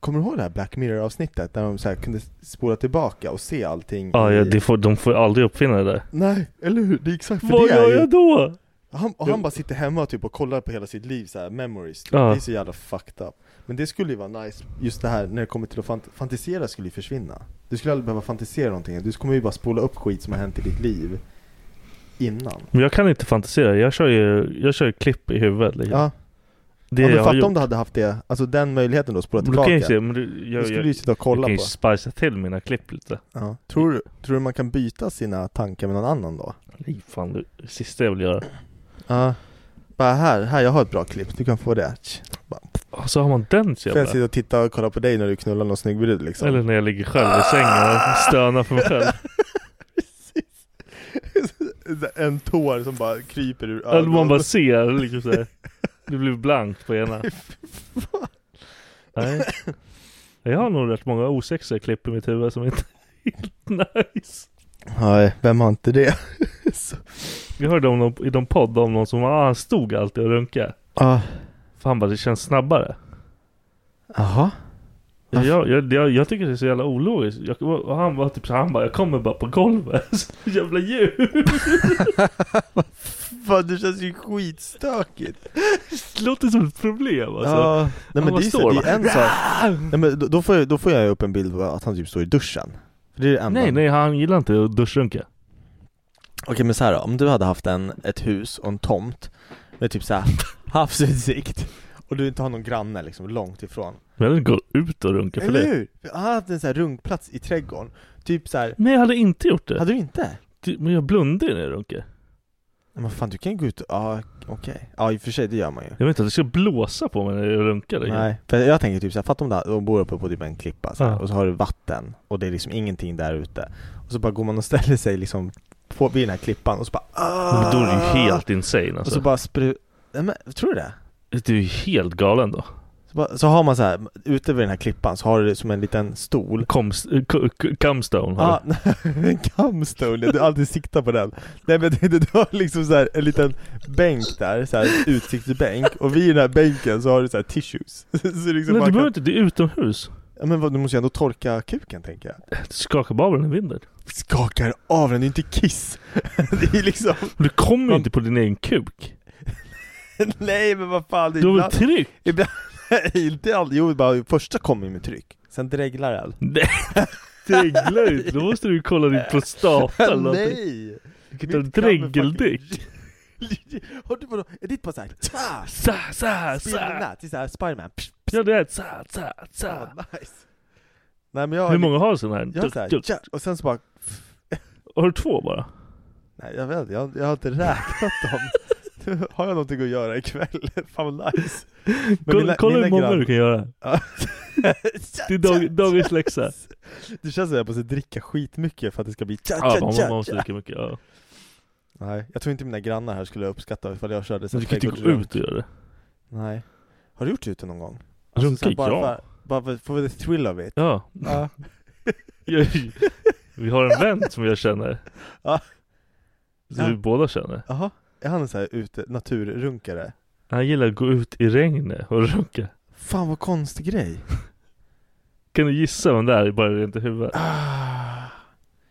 G: Kommer du ihåg det här Black Mirror avsnittet? Där de så här kunde spola tillbaka och se allting
D: Ja,
G: i-
D: ja, det får, de får aldrig uppfinna det där.
G: Nej, eller hur? Det är exakt för
D: Vad
G: det är
D: gör
G: ju...
D: jag då?
G: han, och han bara sitter hemma typ och kollar på hela sitt liv så här, memories typ.
D: Ja.
G: Det är så jävla fucked up Men det skulle ju vara nice, just det här när det kommer till att fant- fantisera skulle ju försvinna Du skulle aldrig behöva fantisera någonting, du kommer ju bara spola upp skit som har hänt i ditt liv Innan
D: Men jag kan inte fantisera. Jag kör ju, jag kör ju klipp i huvudet liksom.
G: Ja,
D: Det
G: ja men
D: jag har
G: fatta
D: gjort.
G: om du hade haft det, alltså den möjligheten då, att spola
D: Men då kan
G: tillbaka
D: jag ju se, men du,
G: Då
D: jag,
G: skulle
D: jag,
G: du ju sitta och
D: jag
G: kolla
D: kan ju
G: på
D: spicea till mina klipp lite.
G: ja. tror, du, tror du man kan byta sina tankar med någon annan då?
D: Nej fan, det det sista jag vill göra.
G: Ja Bara här, här jag har ett bra klipp, du kan få det
D: Och så har man den så
G: Får jag
D: jävla.
G: sitta och titta och kolla på dig när du knullar någon snygg brud liksom?
D: Eller när jag ligger själv i sängen och stönar för mig själv.
G: en tår som bara kryper ur
D: Eller man bara ser liksom så
G: [LAUGHS]
D: här. Det blir blankt på ena. Nej. Jag har nog rätt många osexiga klipp i mitt huvud som inte är helt nice.
G: Nej, vem har inte det? [LAUGHS] Så-
D: Vi hörde om någon, i någon podd om någon som ah, han stod alltid och runkade.
G: Ja,
D: För han bara det känns snabbare.
G: jaha?
D: Jag, jag, jag, jag tycker det är så jävla ologiskt. Jag, och han var typ så här, han bara jag kommer bara på golvet. [LAUGHS] Så jävla djur.
G: Fan det känns ju skitstökigt!
D: Det låter som ett problem alltså.
G: Ja,
D: Han
G: nej men det är,
D: bara
G: så, det
D: står
G: är en sak Nej men då- då får, jag, då får jag upp en bild på att han typ står i duschen För det är det enda
D: Nej nej han gillar inte att duschrunka.
G: Okej men så här då, om du hade haft en, ett hus och en tomt Med typ så här [LAUGHS] havsutsikt Och du inte har någon granne liksom, långt ifrån
D: Men jag hade inte gått ut och runka för
G: Eller
D: det.
G: hur? Jag hade haft en sån här runkplats i trädgården, typ så här.
D: Nej jag hade inte gjort det.
G: hade du inte?
D: Du- Men jag blundar ju när jag runkar.
G: Men fan du kan ju gå ut och, ja okej, ja i och för sig det gör man ju
D: Jag vet inte, det ska blåsa på mig när jag runkar.
G: Nej, för jag tänker typ såhär, fatta om det här, de bor uppe på typ en klippa så här,
D: Ja.
G: och så har du vatten och det är liksom ingenting där ute Och så bara går man och [LAUGHS] ställer sig liksom på, vid den här klippan och så bara
D: Men
G: ah!
D: Då är det ju helt insane
G: Och
D: alltså.
G: så bara spru... Nej men, tror du det?
D: Du är ju helt galen då.
G: Så, bara, så har man så här, ute vid den här klippan så har du det som en liten stol [LAUGHS]
D: Comes- eh, co- co- Comestone har
G: Ja, en kamstol, du alltid siktar på den Nej men [LAUGHS] det, du har liksom så här en liten bänk där, så här utsiktsbänk Och vid den här bänken så har du så här tissues så det
D: du.
G: liksom
D: Nej du
G: bara kan-
D: behöver inte, det är utomhus.
G: ja, men vad, du måste ju ändå torka kuken tänker jag
D: Du skakar bara av den i vinden.
G: Skakar av den, det är inte kiss [LAUGHS] Det är liksom,
D: Men Du kommer ju
G: Man-
D: inte på din egen kuk.
G: [LAUGHS] nej men vad fan det är
D: Du har väl
G: ibland,
D: tryck?
G: ibland, inte alltid, jo bara första kommer ju med tryck Sen dreglar all [LAUGHS]
D: Nej. Dreglar ju inte. Då måste du ju kolla din prostata eller någonting.
G: Nej!
D: Du kan ta en
G: Mitt kammer fucking-
D: dregeldick.
G: Har du vadå, är ditt bara såhär, tja!
D: Så, så, så.
G: Spindlarna till såhär Spiderman, psh,
D: Ja du vet, så, så, så.
G: Fan, nice. Nej men jag
D: Hur många har sån här?
G: Jag har så här,
D: Duck, duck.
G: tja, och sen så bara
D: Har du två bara?
G: Nej jag vet inte, jag, jag har inte räknat dem Nu Har jag någonting att göra ikväll? [LAUGHS] Fan vad nice Men
D: Kolla, kolla hur många du kan göra.
G: [LAUGHS] Ja.
D: Det är dag, dagens läxa.
G: Det känns som att jag måste dricka skitmycket för att det ska bli tja,
D: Ja,
G: tja,
D: man,
G: tja,
D: man måste
G: tja.
D: lika mycket. Ja.
G: Nej, jag tror inte mina grannar här skulle uppskatta ifall jag körde så
D: Men du
G: här
D: kan ju inte gå
G: trädgårdsrunk.
D: ut och göra det.
G: Nej Har du gjort det ute någon gång? Alltså,
D: Runka?
G: så här, bara,
D: Ja.
G: för, bara för, for the thrill of it
D: Ja.
G: Ja,
D: Jag, vi har en vän som jag känner.
G: Ja.
D: Som vi
G: Ja.
D: båda känner.
G: jaha, är han en sån här ute, naturrunkare?
D: Han gillar att gå ut i regnet och runka.
G: Fan vad konstig grej
D: [LAUGHS] Kan du gissa vem det är bara rent i huvudet?
G: Ah.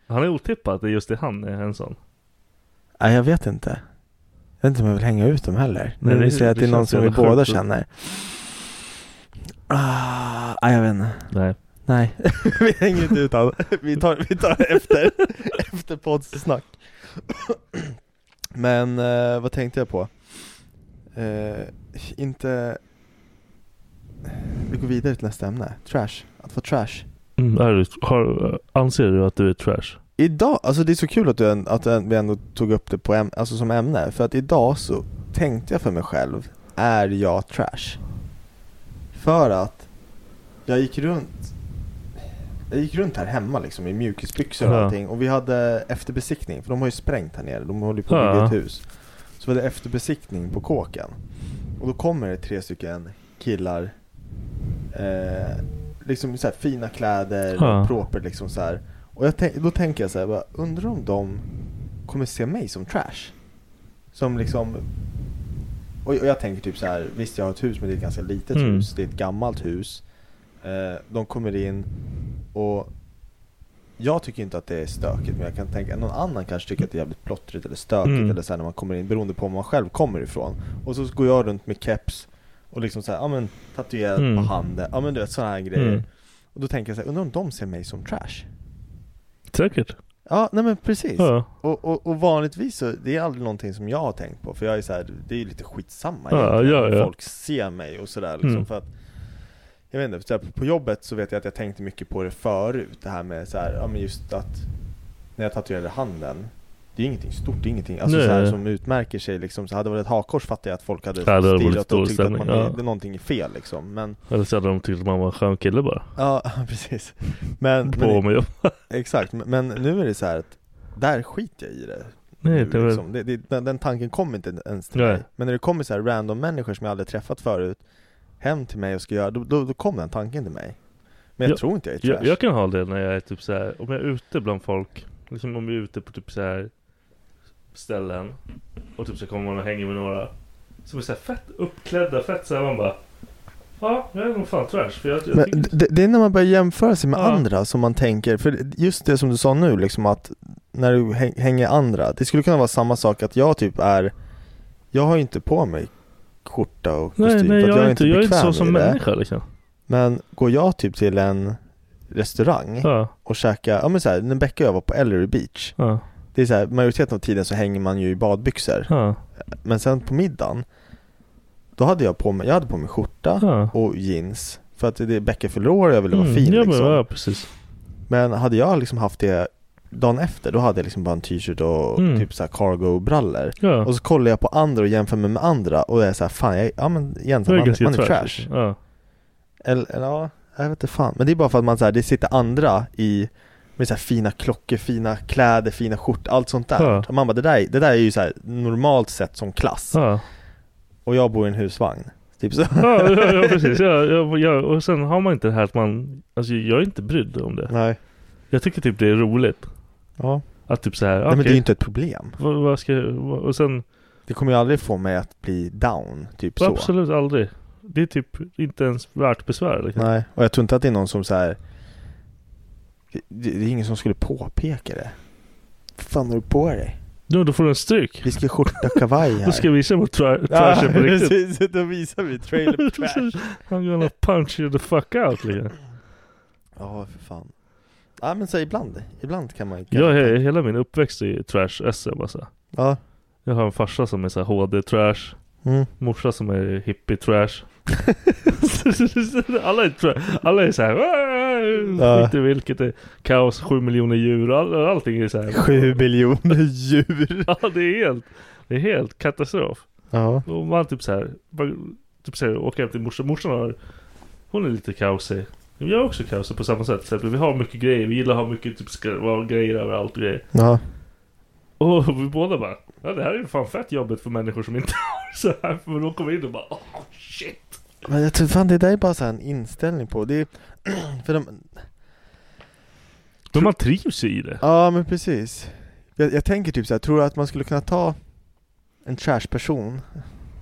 D: Han är otippad att det just är han är en sån.
G: Nej, jag vet inte. Jag vet inte om jag vill hänga ut dem heller.
D: Nej,
G: Nu
D: det-
G: vill säga att
D: det
G: det är någon
D: känns
G: som vi
D: jävla sjukt
G: båda
D: att-
G: känner. Ah, nej, jag vet inte.
D: Nej.
G: Nej. vi hänger inte ut han. Vi tar, vi tar efter, efter poddsnack. Men eh, vad tänkte jag på? Eh, inte... Vi går vidare till nästa ämne. Trash. Att vara trash.
D: Mm, är du, har, anser du att du är trash?
G: Idag, alltså det är så kul att, du, än- att en- vi ändå tog upp det på äm, alltså som ämne, för att idag så tänkte jag för mig själv, är jag trash? För att jag gick runt jag gick runt här hemma liksom i mjukisbyxor och
D: Ja.
G: allting och vi hade efterbesiktning, för de har ju sprängt här nere, de håller ju på att
D: Ja.
G: bygga ett hus. Så vi hade efterbesiktning på kåken. Och då kommer det tre stycken killar eh, Liksom så här fina kläder,
D: Ja.
G: och proper liksom så här. Och jag tänk, då tänker jag så här, bara, undrar om de kommer se mig som trash? Som liksom och, och jag tänker typ så här, visst jag har ett hus men det är ett ganska litet
D: Mm.
G: hus, det är ett gammalt hus eh, De kommer in och jag tycker inte att det är stökigt men jag kan tänka, någon annan kanske tycker att det är jävligt plottrigt eller stökigt
D: Mm.
G: eller så här när man kommer in beroende på var man själv kommer ifrån Och så går jag runt med keps och liksom så här, ja men tatuerad
D: Mm.
G: på handen, ja men du vet sådana här grejer
D: Mm.
G: Och då tänker jag så här, undrar om de ser mig som trash?
D: Säkert.
G: Ja, nej men precis
D: Ja.
G: och, och, och vanligtvis så, det är aldrig någonting som jag har tänkt på För jag är så här, det är ju lite skitsamma
D: Ja,
G: egentligen
D: ja,
G: om
D: ja.
G: Folk ser mig och sådär liksom
D: Mm.
G: för att Jag vet inte, så här, på jobbet så vet jag att jag tänkte mycket på det förut Det här med så här, ja men just att När jag tatuerade handen Det är ingenting stort, det är ingenting alltså
D: Nej.
G: så här, som utmärker sig liksom så Hade det varit ett hakkors fattar jag att folk hade
D: Ja, det hade varit
G: stirrat
D: stor
G: och tyckt att man,
D: stämning, ja.
G: det, någonting är fel liksom Men,
D: Eller så hade de tyckt att man var en skön kille bara.
G: ja [LAUGHS] precis Men,
D: På
G: men
D: mig upp.
G: exakt, men, men nu är det så här att Där skiter jag i det
D: Nej,
G: nu,
D: det var...
G: liksom. det, det, den, den tanken kom inte ens till
D: Nej.
G: mig Men när det kommer så här random människor som jag aldrig träffat förut Hem till mig och ska göra, då, då, då kom den tanken till mig Men jag
D: Ja,
G: tror inte jag är trash
D: Jag, jag kan ha det när jag är typ så här. om jag är ute bland folk, liksom om jag är ute på typ så här ställen och typ så kommer man och hänger med några som är så här fett uppklädda, fett så här man bara Ja, jag är nog fan trash för jag, jag
G: Men
D: tycker
G: det, det är när man börjar jämföra sig med
D: Ja.
G: andra som man tänker, för just det som du sa nu liksom att När du häng- hänger andra, det skulle kunna vara samma sak att jag typ är Jag har ju inte på mig skjorta och kostym
D: Nej, nej
G: för
D: jag,
G: att
D: är inte, jag är inte
G: bekväm
D: så
G: i
D: som
G: det.
D: människa liksom
G: Men går jag typ till en restaurang
D: Ja,
G: Mm. och käkar, ja men såhär, när Becka och jag var på Ellery Beach
D: ja,
G: Det är så här, majoriteten av tiden så hänger man ju i badbyxor
D: ja,
G: Men sen på middagen Då hade jag på mig, jag hade på mig skjorta
D: ja.
G: och jeans För att det är Becka förlorar jag ville vara
D: Mm,
G: fin
D: ja, men,
G: liksom.
D: ja, precis
G: Men hade jag liksom haft det dagen efter Då hade jag liksom bara en t-shirt och
D: Mm.
G: typ så här cargo-brallor
D: Ja,
G: Och så kollar jag på andra och jämför mig med andra Och jag är så här, fan jag, ja men egentligen man, man är trash
D: liksom. Ja,
G: eller, eller ja, jag vet inte fan. Men det är bara för att man så här, det sitter andra i med så här fina klockor, fina kläder, fina skjortor, allt sånt där.
D: Ja.
G: Och man bara, det där, är- det där är ju så här, normalt sett som klass.
D: ja,
G: Och jag bor i en husvagn. Typ så.
D: ja, ja, ja precis ja, ja, ja, och sen har man inte det här att man Alltså jag är inte brydd om det
G: Nej.
D: Jag tycker typ det är roligt
G: Ja.
D: Att typ så här,
G: Nej men det är
D: okej,
G: ju inte ett problem.
D: Vad, vad ska jag, vad- och sen
G: Det kommer ju aldrig få mig att bli down, typ så.
D: absolut aldrig. Det är typ inte ens värt besvär liksom.
G: Nej, och jag tror inte att det är någon som så här. Det, det det är ingen som skulle påpeka det. Vad fan har du på dig?
D: Nu, då får du en stryk.
G: Vi ska ha skjorta kavaj
D: [LAUGHS]
G: här.
D: Då ska jag visa mot tra-
G: Ja,
D: trashen på riktigt.
G: precis. Då visar
D: [LAUGHS]
G: vi trailer trash.
D: I'm gonna punch you the fuck out liksom.
G: Ja, för fan. Ja, men så ibland. Ibland kan man ju
D: Jag, he- hela min uppväxt är trash-SM alltså.
G: Ja.
D: Jag har en farsa som är så här HD-trash.
G: Mm.
D: Morsa som är hippie-trash. [LAUGHS] alla är, tra- alla är så här. "Äh,
G: Ja.
D: Skit i vilket det är. Kaos, sju miljoner djur. All- allting är så här.
G: Sju miljoner djur.
D: [LAUGHS] Ja det är helt, det är helt katastrof.
G: Ja.
D: Och man typ såhär, bara- typ såhär åker hem till morsan. Morsan har, hon är lite kaosig. Jag är också kaosig på samma sätt. Så här, vi har mycket grejer, vi gillar att ha mycket typ ska vara grejer överallt och grejer.
G: Ja.
D: Och vi båda bara, ja det här är ju fan fett jobbigt för människor som inte [LAUGHS] har så här. För de kommer in och bara, oh shit.
G: Men jag tror fan det där är bara så här en inställning på. Det är, för de,
D: Men man trivs ju i det.
G: ja men precis. Jag, jag tänker typ så här, tror du att man skulle kunna ta en trash-person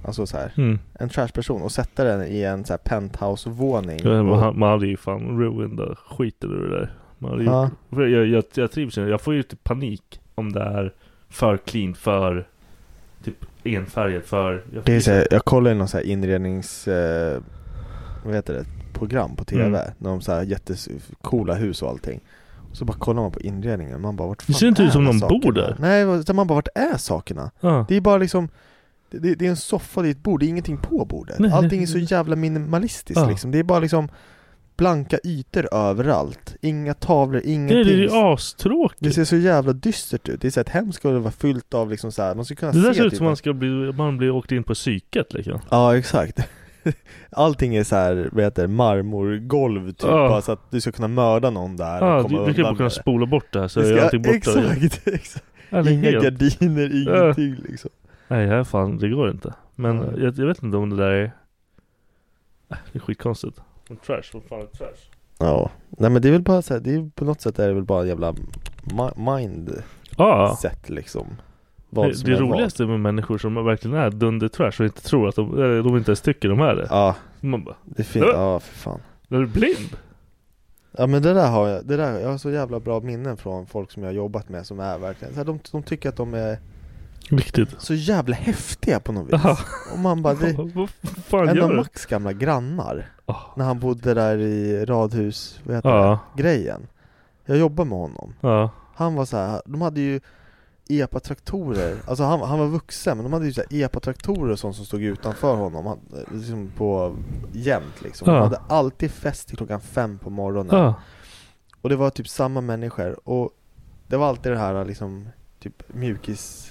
G: Alltså så här,
D: Mm.
G: en trashperson och sätta den i en så här penthouse-våning.
D: Ja, Man,
G: Och-
D: ha- man hade ju fan ruined skiten ur det där. Man hade
G: Ja.
D: gjort, för jag, jag, jag trivs inte. Jag får ju typ panik om det är för clean, för typ enfärgat, för... Jag,
G: Det är så här, jag kollar i någon så här inrednings... Eh, vad heter det? Program på TV.
D: Mm.
G: När de så här jättecoola hus och allting. Och så bara kollar man på inredningen. Man bara vart
D: Det
G: fan
D: ser inte
G: är
D: ut som
G: alla
D: någon
G: sakerna?
D: bor där.
G: Nej, utan man bara vart är sakerna?
D: ja.
G: Det är bara liksom det- det, det är en soffa, det är ett bord, det är ingenting på bordet.
D: Nej, nej,
G: Allting är så
D: nej.
G: jävla minimalistiskt
D: Ja.
G: liksom. Det är bara liksom blanka ytor överallt. Inga tavlor,
D: det är
G: ingenting.
D: ju astråkigt.
G: Det
D: Det,
G: ser så jävla dystert ut. Det är så att ett hem skulle vara fyllt av liksom så här, man skulle kunna
D: där
G: se
D: ser ut
G: typ
D: som man ska bli, man blir åkt in på psyket liksom.
G: Ja, exakt. [LAUGHS] Allting är så här, vad heter det, marmorgolv typ,
D: Ja.
G: bara så att du ska kunna mörda någon där
D: Ja,
G: och komma
D: du, du kan bara
G: undan
D: kunna
G: med det.
D: spola bort det här så
G: Det
D: är
G: ska-
D: allting borta.
G: [LAUGHS]
D: igen.
G: Exakt, exakt.
D: Eller
G: Inga
D: helt.
G: gardiner,
D: Ja.
G: ingenting liksom.
D: Nej, här fan, det går inte. Men
G: Nej.
D: jag, jag vet inte om det där är... Äh, Det är skitkonstigt. Men Trash, vad fan är trash?
G: Ja, nej men det är väl bara så här, det är på något sätt är det väl bara en jävla ma- mindset
D: Ja.
G: liksom. Vad
D: Det,
G: som
D: det
G: är vad.
D: roligaste med människor som verkligen är dunder-trash och inte tror att de, eh, de inte ens tycker de är det.
G: Ja,
D: Man bara, "Äh,
G: det är fint. Ja, för fan.
D: är du blind?
G: Ja men det där har jag, det där, jag har så jävla bra minnen från folk som jag har jobbat med som är verkligen, så här, de, de tycker att de är
D: Viktigt.
G: så jävla häftiga på något vis.
D: [LAUGHS] Ja.
G: Och man bara, det,
D: [LAUGHS] Vad fan
G: En
D: gör
G: av
D: du?
G: Max gamla grannar,
D: Ah.
G: när han bodde där i radhus, vad heter
D: Ja.
G: det, grejen Jag jobbade med honom,
D: Ja.
G: han var så här, de hade ju epa-traktorer, alltså han, han var vuxen men de hade ju så här epa-traktorer och sånt som stod utanför honom, han, liksom på jämt liksom
D: Ja.
G: De hade alltid fest till klockan fem på morgonen
D: Ja.
G: och det var typ samma människor och det var alltid det här liksom, typ mjukis,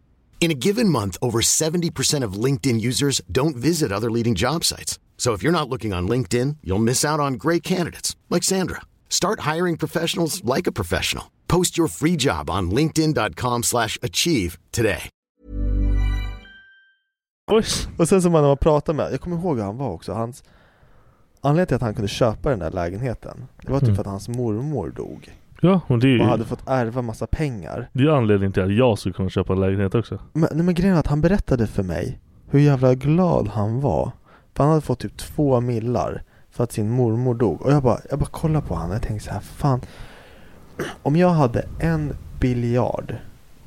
A: In a given month, over 70% of LinkedIn users don't visit other leading job sites. So if you're not looking on LinkedIn, you'll miss out on great candidates like Sandra. Start hiring professionals like a professional. Post your free job on linkedin.com/achieve slash achieve today.
D: Boys.
G: Och sen som man har pratat med, jag kommer ihåg hur han var också, hans Anledningen till att han kunde köpa den där lägenheten Det var typ
D: Mm.
G: för att hans mormor dog
D: Ja, och det är
G: och
D: ju
G: hade fått ärva massa pengar
D: det är ju anledningen till att jag skulle kunna köpa en lägenhet också.
G: Men, nej, men grejen är att han berättade för mig hur jävla glad han var För han hade fått typ två millar för att sin mormor dog Och jag bara, jag bara kollade på honom och jag tänkte så här, fan Om jag hade en biljard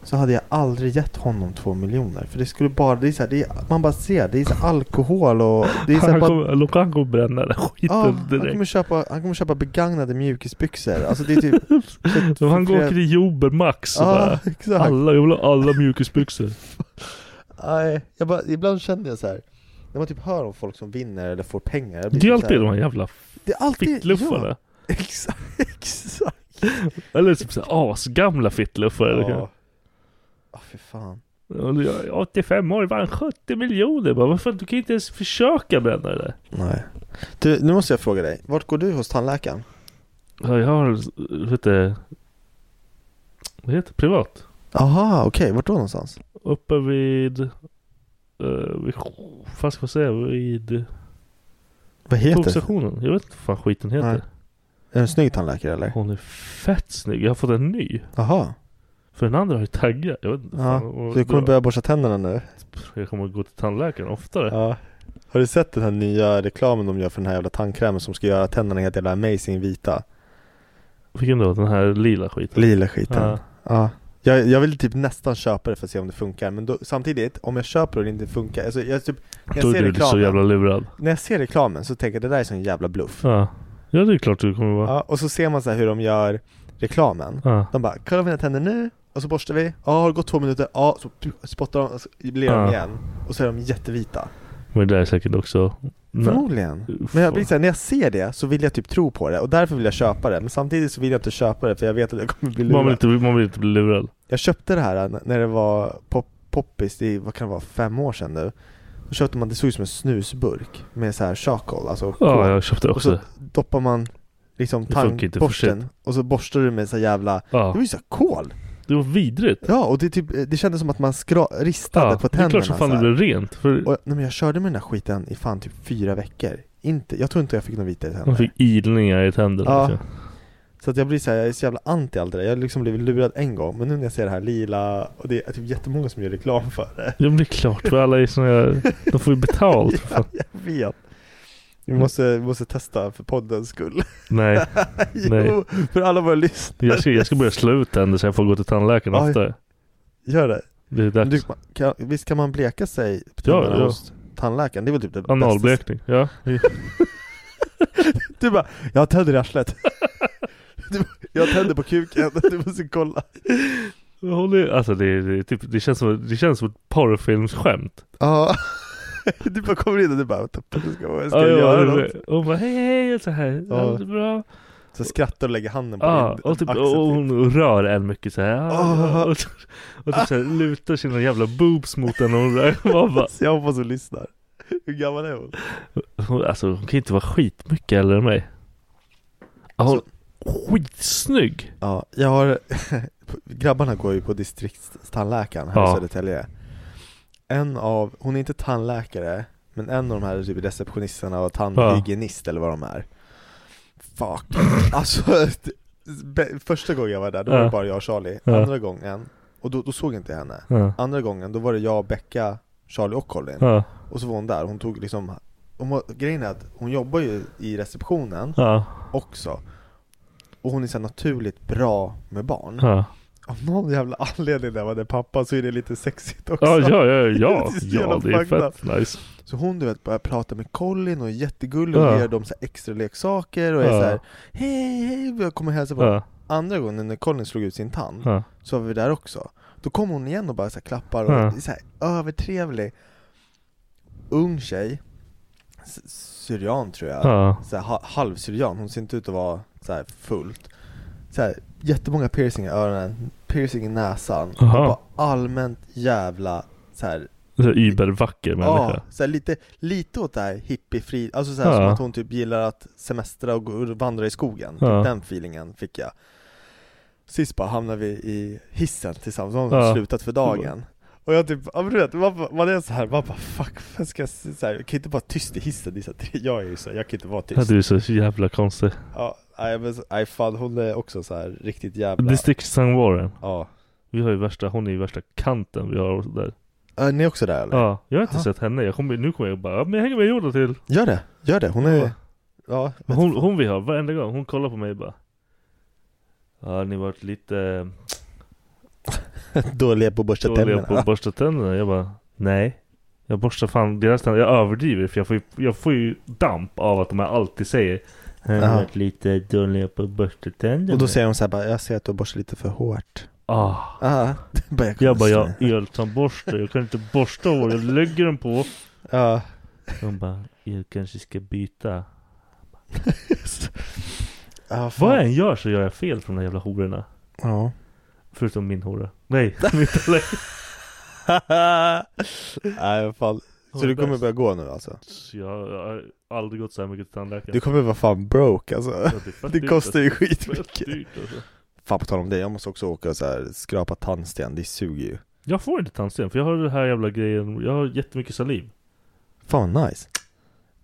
G: så hade jag aldrig gett honom två miljoner För det skulle bara, det är så här, det är, man bara ser, det är så här alkohol och det är så här
D: Han
G: bara
D: kommer, Loka, han kommer bränna den skiten
G: Ja, han
D: direkt.
G: kommer, köpa, han kommer köpa begagnade mjukisbyxor. Alltså det är typ...
D: Så han går
G: flera-
D: till Jober Max och
G: Ja,
D: bara,
G: exakt.
D: alla, jag vill ha alla mjukisbyxor.
G: Nej, jag bara, ibland känner jag så här. När man typ hör om folk som vinner eller får pengar. jag blir
D: Det är
G: typ
D: alltid
G: så
D: de
G: här,
D: här jävla
G: Det är alltid...
D: fittluffarna.
G: Ja, [LAUGHS] exakt, exakt.
D: Eller typ såhär asgamla fittluffare.
G: Ja.
D: Ja.
G: Ah, för fan.
D: Jag är 85 år, vann 70 miljoner. Bara, varför du kan inte ens försöka bränna det där?
G: Nej. Du, nu måste jag fråga dig. Vart går du hos tandläkaren?
D: Ja, Jag har, vet du, vad heter det? privat?
G: Aha, okej. Vart då någonstans?
D: Uppe vid, uh, vid vad ska man säga, vid
G: Vad heter det?
D: tågstationen. Jag vet inte vad fan skiten heter.
G: Nej. Är det en snygg tandläkare eller?
D: Hon är fett snygg. Jag har fått en ny.
G: Aha.
D: För den andra har ju taggar. Jag vet inte.
G: Ja,
D: fan vad-
G: Så du kommer börja borsta tänderna nu?
D: Jag kommer gå till tandläkaren oftare.
G: Ja. Har du sett den här nya reklamen de gör för den här jävla tandkrämen som ska göra tänderna helt jävla amazing vita?
D: Vilken då? Den här lila skiten?
G: Lila skiten.
D: Ja.
G: Ja. Jag, jag vill typ nästan köpa det för att se om det funkar, men då, samtidigt, om jag köper och det inte funkar, alltså jag typ, när jag
D: Då är
G: ser
D: du så
G: reklamen,
D: jävla lurad.
G: när jag ser reklamen så tänker jag det där är sån jävla bluff.
D: Ja. Ja det är klart du kommer vara.
G: Ja, och så ser man så här hur de gör reklamen. De bara, kolla mina tänder nu, och så borstar vi, ja har det gått två minuter, ja så spottar de, och så blir de
D: Ja.
G: igen. Och så är de jättevita.
D: Men det där är säkert också...
G: Förmodligen. Men jag blir såhär, när jag ser det så vill jag typ tro på det och därför vill jag köpa det. Men samtidigt så vill jag inte köpa det för jag vet att jag kommer bli
D: Man vill,
G: lurad.
D: inte, man vill inte bli lurad.
G: Jag köpte det här n- när det var pop, poppis, det är, vad kan det vara, fem år sedan nu. Då köpte man, det såg ut som en snusburk med så här charcoal, alltså
D: Ja,
G: kol.
D: jag köpte
G: Och så
D: också
G: doppar man liksom
D: Det funkar inte för
G: tandborsten
D: shit.
G: och så borstar du med så här jävla, det var ju så här kol.
D: Det var vidrigt.
G: Ja, och det, typ, det kändes som att man skra, ristade
D: Ja,
G: på
D: det är
G: tänderna.
D: klart som fan
G: så
D: det
G: här.
D: blev rent, för-
G: Och, nej, men jag körde med den här skiten i fan typ fyra veckor. Inte, jag tror inte jag fick några vita i tänderna.
D: Man fick ilningar i tänderna.
G: Ja.
D: liksom.
G: Så att jag blir så här, jag är så jävla anti allt det där. Jag har liksom blivit lurad en gång, men nu när jag ser det här lila och det är typ jättemånga som gör reklam för det.
D: Ja, men det är klart, för alla är såna här, de får ju betalt. för fan.
G: [LAUGHS] Jag vet. Vi måste, vi måste testa för poddens skull.
D: Nej.
G: jo,
D: [LAUGHS] Nej.
G: för alla våra lyssnare.
D: Jag ska, jag ska börja slå ut tänder så jag får gå till tandläkaren
G: Oj.
D: oftare.
G: Gör det.
D: Det är dags.
G: Du, man- kan, visst kan man bleka sig på
D: Ja,
G: tänderna
D: ja.
G: hos tandläkaren? Det är väl typ det bästa.
D: Analblekning, ja.
G: [LAUGHS] Du bara, jag har tänder
D: [LAUGHS]
G: i arslet. Du bara, jag har tänder på kuken, [LAUGHS] du måste kolla.
D: Jag håller- Alltså det, är- det, är typ, det, känns som, det känns som ett porrfilmsskämt.
G: Ja. [LAUGHS] Du bara kommer in och du bara, "Vad ska jag
D: Ja, ja,
G: göra
D: det-
G: något?
D: Hon bara hej hej och så här. Ja.
G: Ja.
D: det är bra.
G: Så skrattar och lägger handen på
D: Ja,
G: din
D: och, typ,
G: axel.
D: och hon rör en mycket så här.
G: Ah.
D: Och, och, typ så här, lutar sina jävla boobs mot en och hon rör. [LAUGHS] Man bara,
G: Så jag hoppas hon lyssnar. [LAUGHS] Hur gammal är hon?
D: hon, alltså hon kan ju inte vara skitmycket äldre än mig. Ja, Hon, skitsnygg!
G: Ja, jag har [LAUGHS] Grabbarna går ju på distriktstandläkaren här i
D: Ja.
G: Södertälje En av, hon är inte tandläkare Men en av de här typ receptionisterna och tandhygienist eller vad de är Fuck Alltså be- Första gången jag var där, då var
D: Ja.
G: det bara jag och Charlie
D: Ja.
G: Andra gången, och då, då såg jag inte henne
D: Ja.
G: Andra gången, då var det jag, Becka, Charlie och Colin
D: Ja.
G: Och så var hon där, hon tog liksom hon, var- Grejen är att hon jobbar ju i receptionen
D: Ja.
G: också Och hon är så här naturligt bra med barn
D: Ja.
G: Av någon jävla anledning när man är pappa så är det lite sexigt också
D: Ja, ja, ja, ja,
G: [LAUGHS] Det är så jävla
D: ja, det är
G: fucked up.
D: fett nice.
G: Så hon du vet börjar prata med Colin och är jättegullig och
D: Ja.
G: ger dem så här extra leksaker och är
D: Ja.
G: så här Hej hej, jag kommer hälsa på
D: Ja.
G: Andra gången när Colin slog ut sin tand
D: Ja.
G: så var vi där också Då kom hon igen och bara så här klappar och
D: Ja.
G: är så här övertrevlig Ung tjej s- Syrian tror jag,
D: Ja.
G: så här, ha- halvsyrian, hon ser inte ut att vara så här fullt så här, Jättemånga piercing i öronen, piercing i näsan, och
D: Aha.
G: bara allmänt jävla så här,
D: Så här Übervacker
G: ja,
D: människa.
G: så här lite, lite åt det här hippiefri, alltså så här,
D: Ja.
G: som att hon typ gillar att semestra och gå och vandra i skogen,
D: Ja.
G: typ den feelingen fick jag Sist bara hamnade vi i hissen tillsammans, hon har
D: Ja.
G: slutat för dagen och jag typ, ja men du vet, man, man är såhär, man bara fuck, vad ska jag, s- så här, jag kan inte vara tyst i hissen, det är så här, jag är ju så här, jag kan inte vara tyst
D: Ja, du är så jävla konstig.
G: Ja, nej men så- nej fan hon är också så här riktigt jävla
D: District St. Warren.
G: Ja.
D: Vi har ju värsta, hon är ju värsta kanten vi har där.
G: Äh, Ni är också där eller?
D: Ja, jag har inte
G: Ja.
D: sett henne. Jag kommer, nu kommer jag bara, "Ja, men jag hänger med Jordan till.
G: Gör det, gör det, hon är, ja,
D: Men hon, hon vi har, varenda gång, hon kollar på mig och bara. Ja, ni varit lite
G: [LAUGHS] dåliga på att borsta
D: dåliga
G: tänderna
D: på att borsta tänderna. Jag bara, nej. Jag borstar fan deras tänder. Jag överdriver för jag får ju, jag får ju damp av att de här alltid säger. Har ni
G: Ja.
D: varit lite dåliga på att borsta tänderna?
G: Och då säger hon så här bara, jag ser att du borstar lite för hårt
D: Ah.
G: ah. [LAUGHS] bara, jag,
D: Jag bara, jag
G: ja.
D: har eltandborste, jag kan inte borsta hår, jag lägger den på.
G: Ja.
D: Hon bara, jag kanske ska byta.
G: [LAUGHS] Ja, fan.
D: Vad jag än gör så gör jag fel från de jävla hororna.
G: Ja.
D: Förutom min hora. Nej, [LAUGHS] min tandläkare.
G: [LAUGHS] Nej fan,
D: Hon
G: så
D: är
G: du kommer
D: bäst.
G: börja gå nu alltså?
D: Så Jag jag har aldrig gått så här mycket till tandläkaren.
G: Du kommer vara fan broke alltså
D: Ja, fett
G: [LAUGHS] Det
D: dyrt,
G: kostar ju
D: alltså. Det är
G: skitmycket.
D: fett dyrt, alltså.
G: Fan på tal om det, jag måste också åka och så här, skrapa tandsten, det suger ju
D: Jag får inte tandsten för jag har den här jävla grejen, jag har jättemycket saliv.
G: Fan vad nice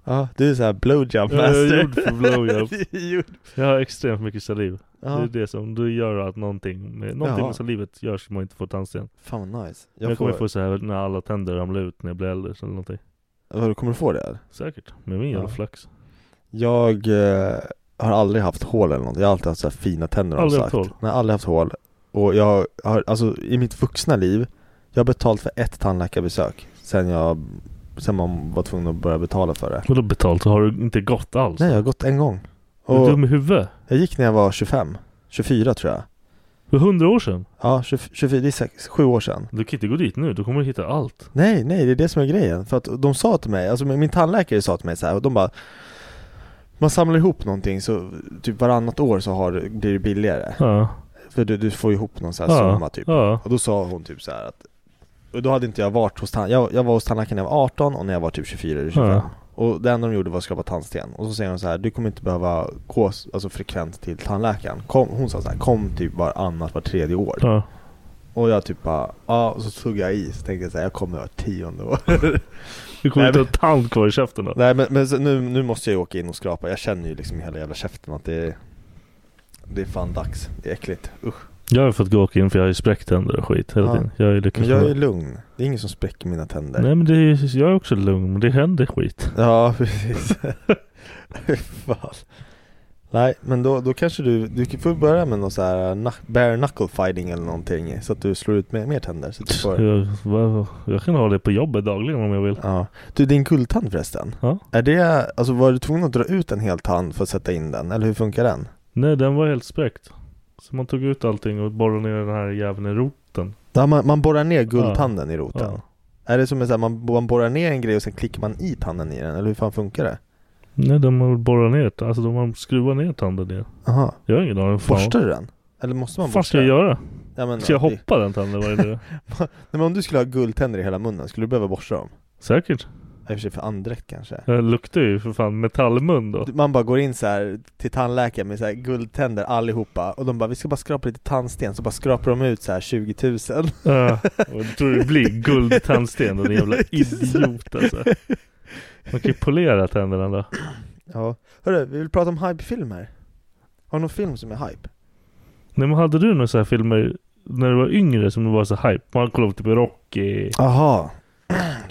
G: Ja, du är såhär blowjob
D: Jag
G: master
D: är gjord för blowjob.
G: [LAUGHS] Du är gjord.
D: Jag har extremt mycket saliv.
G: Ja.
D: Det är det som du gör att någonting med, någonting
G: Jaha.
D: med salivet gör så man inte får tandsten.
G: Fan vad nice
D: Jag, kommer få så här när alla tänder ramlar ut när jag blir äldre eller någonting.
G: Vadå, kommer du få det? eller?
D: Säkert, med min jävla
G: Ja.
D: flax.
G: Jag eh, har aldrig haft hål eller något. Jag har alltid haft så här fina tänder har de
D: Aldrig
G: sagt.
D: haft hål?
G: Nej, aldrig haft hål. Och jag har, alltså i mitt vuxna liv, jag har betalt för ett tandläkarbesök sen jag, sen man var tvungen att börja betala för det.
D: Vadå betalt? Så har du inte gått alls?
G: Nej, jag har gått en gång.
D: Är du
G: Och
D: dum i huvudet?
G: jag gick när jag var 25. 24 tror jag
D: För hundra år sedan?
G: Ja, 20 24, det är sex, sju år sedan
D: Du kan inte gå dit nu, då kommer du hitta allt.
G: Nej, nej, det är det som är grejen. För att de sa till mig, alltså min min tandläkare sa till mig så här, och de bara Man samlar ihop någonting så typ varannat år så har, du- blir det billigare.
D: Ja.
G: För du, du får ihop någon så här
D: Ja,
G: summa typ.
D: ja.
G: Och då sa hon typ så här att Och då hade inte jag varit hos tandläkaren, jag, jag var hos tandläkaren när jag var 18 och när jag var typ 24 eller 25.
D: Ja.
G: Och det enda de gjorde var att skapa tandsten. Och så säger hon så här, du kommer inte behöva gå s- alltså, frekvent till tandläkaren. Kom, hon sa så här, kom typ varannat, var tredje år.
D: Ja.
G: Och jag typ bara, ja, och så tog jag i, så tänkte jag så här, jag kommer vart tionde år.
D: Du kommer inte
G: Nej,
D: ha
G: men-
D: tand kvar i käften då.
G: Nej men, men så nu, nu måste jag ju åka in och skrapa, jag känner ju liksom i hela jävla käften att det är Det är fan dags, det är äckligt, usch
D: Jag har fått gå och in för jag har ju spräckt tänder och skit hela
G: Ja.
D: tiden. Jag har ju lyckats
G: Men jag
D: med-
G: är lugn, det är ingen som spräcker mina tänder
D: Nej men det är, jag är också lugn, men det händer skit.
G: Ja precis Fan. Nej men då, då kanske du, du kan- får börja med någon så här knuck- bare knuckle fighting eller någonting Så att du slår ut mer, mer tänder så att du får...
D: Jag, vad- jag kan ha det på jobbet dagligen om jag vill.
G: Ja. Du din guldtand förresten,
D: Ja.
G: är det, alltså var du tvungen att dra ut en hel tand för att sätta in den? Eller hur funkar den?
D: Nej den var helt spräckt. Så man tog ut allting och borrade ner den här jäveln i roten.
G: Ja, man, man borrar ner guldtanden
D: Ja.
G: i roten.
D: Ja.
G: Är det som en sån här, man, man borrar ner en grej och sen klickar man i tanden i den, eller hur fan funkar det?
D: Nej de har borrat ner, alltså de har skruvat ner tanden i
G: Aha.
D: Jag har ingen aning. fan.
G: Borstar du den? Eller måste man
D: Vad fan
G: borsta
D: ska jag göra?
G: Ja, men,
D: ska jag
G: ja, det-
D: hoppa den tanden varje
G: [LAUGHS]
D: dag?
G: Nej, men om du skulle ha guldtänder i hela munnen, skulle du behöva borsta dem?
D: Säkert.
G: I och för sig för andräkt kanske?
D: Jag luktar ju för fan metallmun då.
G: Du- Man bara går in så här till tandläkaren med så här guldtänder allihopa och de bara 'Vi ska bara skrapa lite tandsten' så bara skrapar de ut så här 20 000
D: Ja, och jag tror det blir guldtandsten den
G: [LAUGHS]
D: jävla idiot alltså. Man kan ju polera tänderna då.
G: Ja, hörru, vi vill prata om hypefilmer Har du någon film som är hype?
D: Nej men hade du några så här filmer när du var yngre som var så hype? Man kollade på typ Rocky.
G: Aha.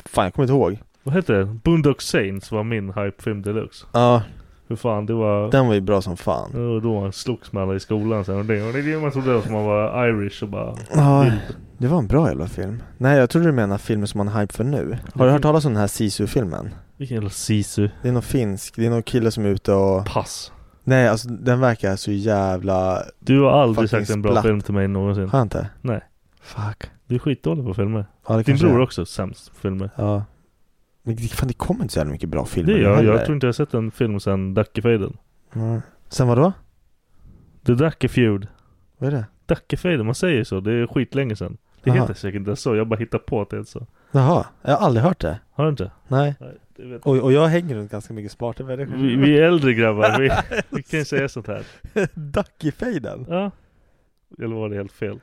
G: Fan jag kommer inte ihåg
D: Vad hette det? Boondock Saints var min hypefilm deluxe.
G: Ja,
D: Hur fan det var...
G: den var ju bra som fan
D: Det var då man slogs med alla i skolan sen. Och det och det är det man trodde att man var irish och bara...
G: Ja, det var en bra jävla film. Nej, jag trodde du menar filmer som man har hype för nu. Har du hört talas om den här Sisu-filmen?
D: Vilken jävla sisu.
G: Det är någon finsk, det är någon kille som är ute och...
D: Pass.
G: Nej, alltså den verkar så jävla...
D: Du har aldrig
G: Fucking
D: sagt en bra
G: splatt.
D: film till mig någonsin.
G: Har jag inte?
D: Nej.
G: Fuck.
D: Du är skitdålig på filmer.
G: Ja, det
D: Din
G: kanske
D: bror
G: är.
D: också sämst på filmer.
G: Ja. Men det, fan, det kommer inte så jävla mycket bra filmer
D: Det
G: nu
D: gör jag.
G: heller.
D: Jag tror inte jag har sett en film sen Dackefejden.
G: Mm. Sen vadå?
D: The Dackefeud.
G: Vad är det?
D: Dackefejden, man säger så. Det är skitlänge sen. Det
G: Aha.
D: heter säkert inte så. Jag bara hittar på att det heter så.
G: Jaha, jag har aldrig hört det.
D: Har du inte?
G: Nej.
D: det vet
G: Och, och jag hänger runt ganska mycket smarta människor.
D: Vi, vi är äldre grabbar, vi, vi kan ju säga sånt här.
G: Ducky-fejden?
D: Ja. Eller var det helt fel?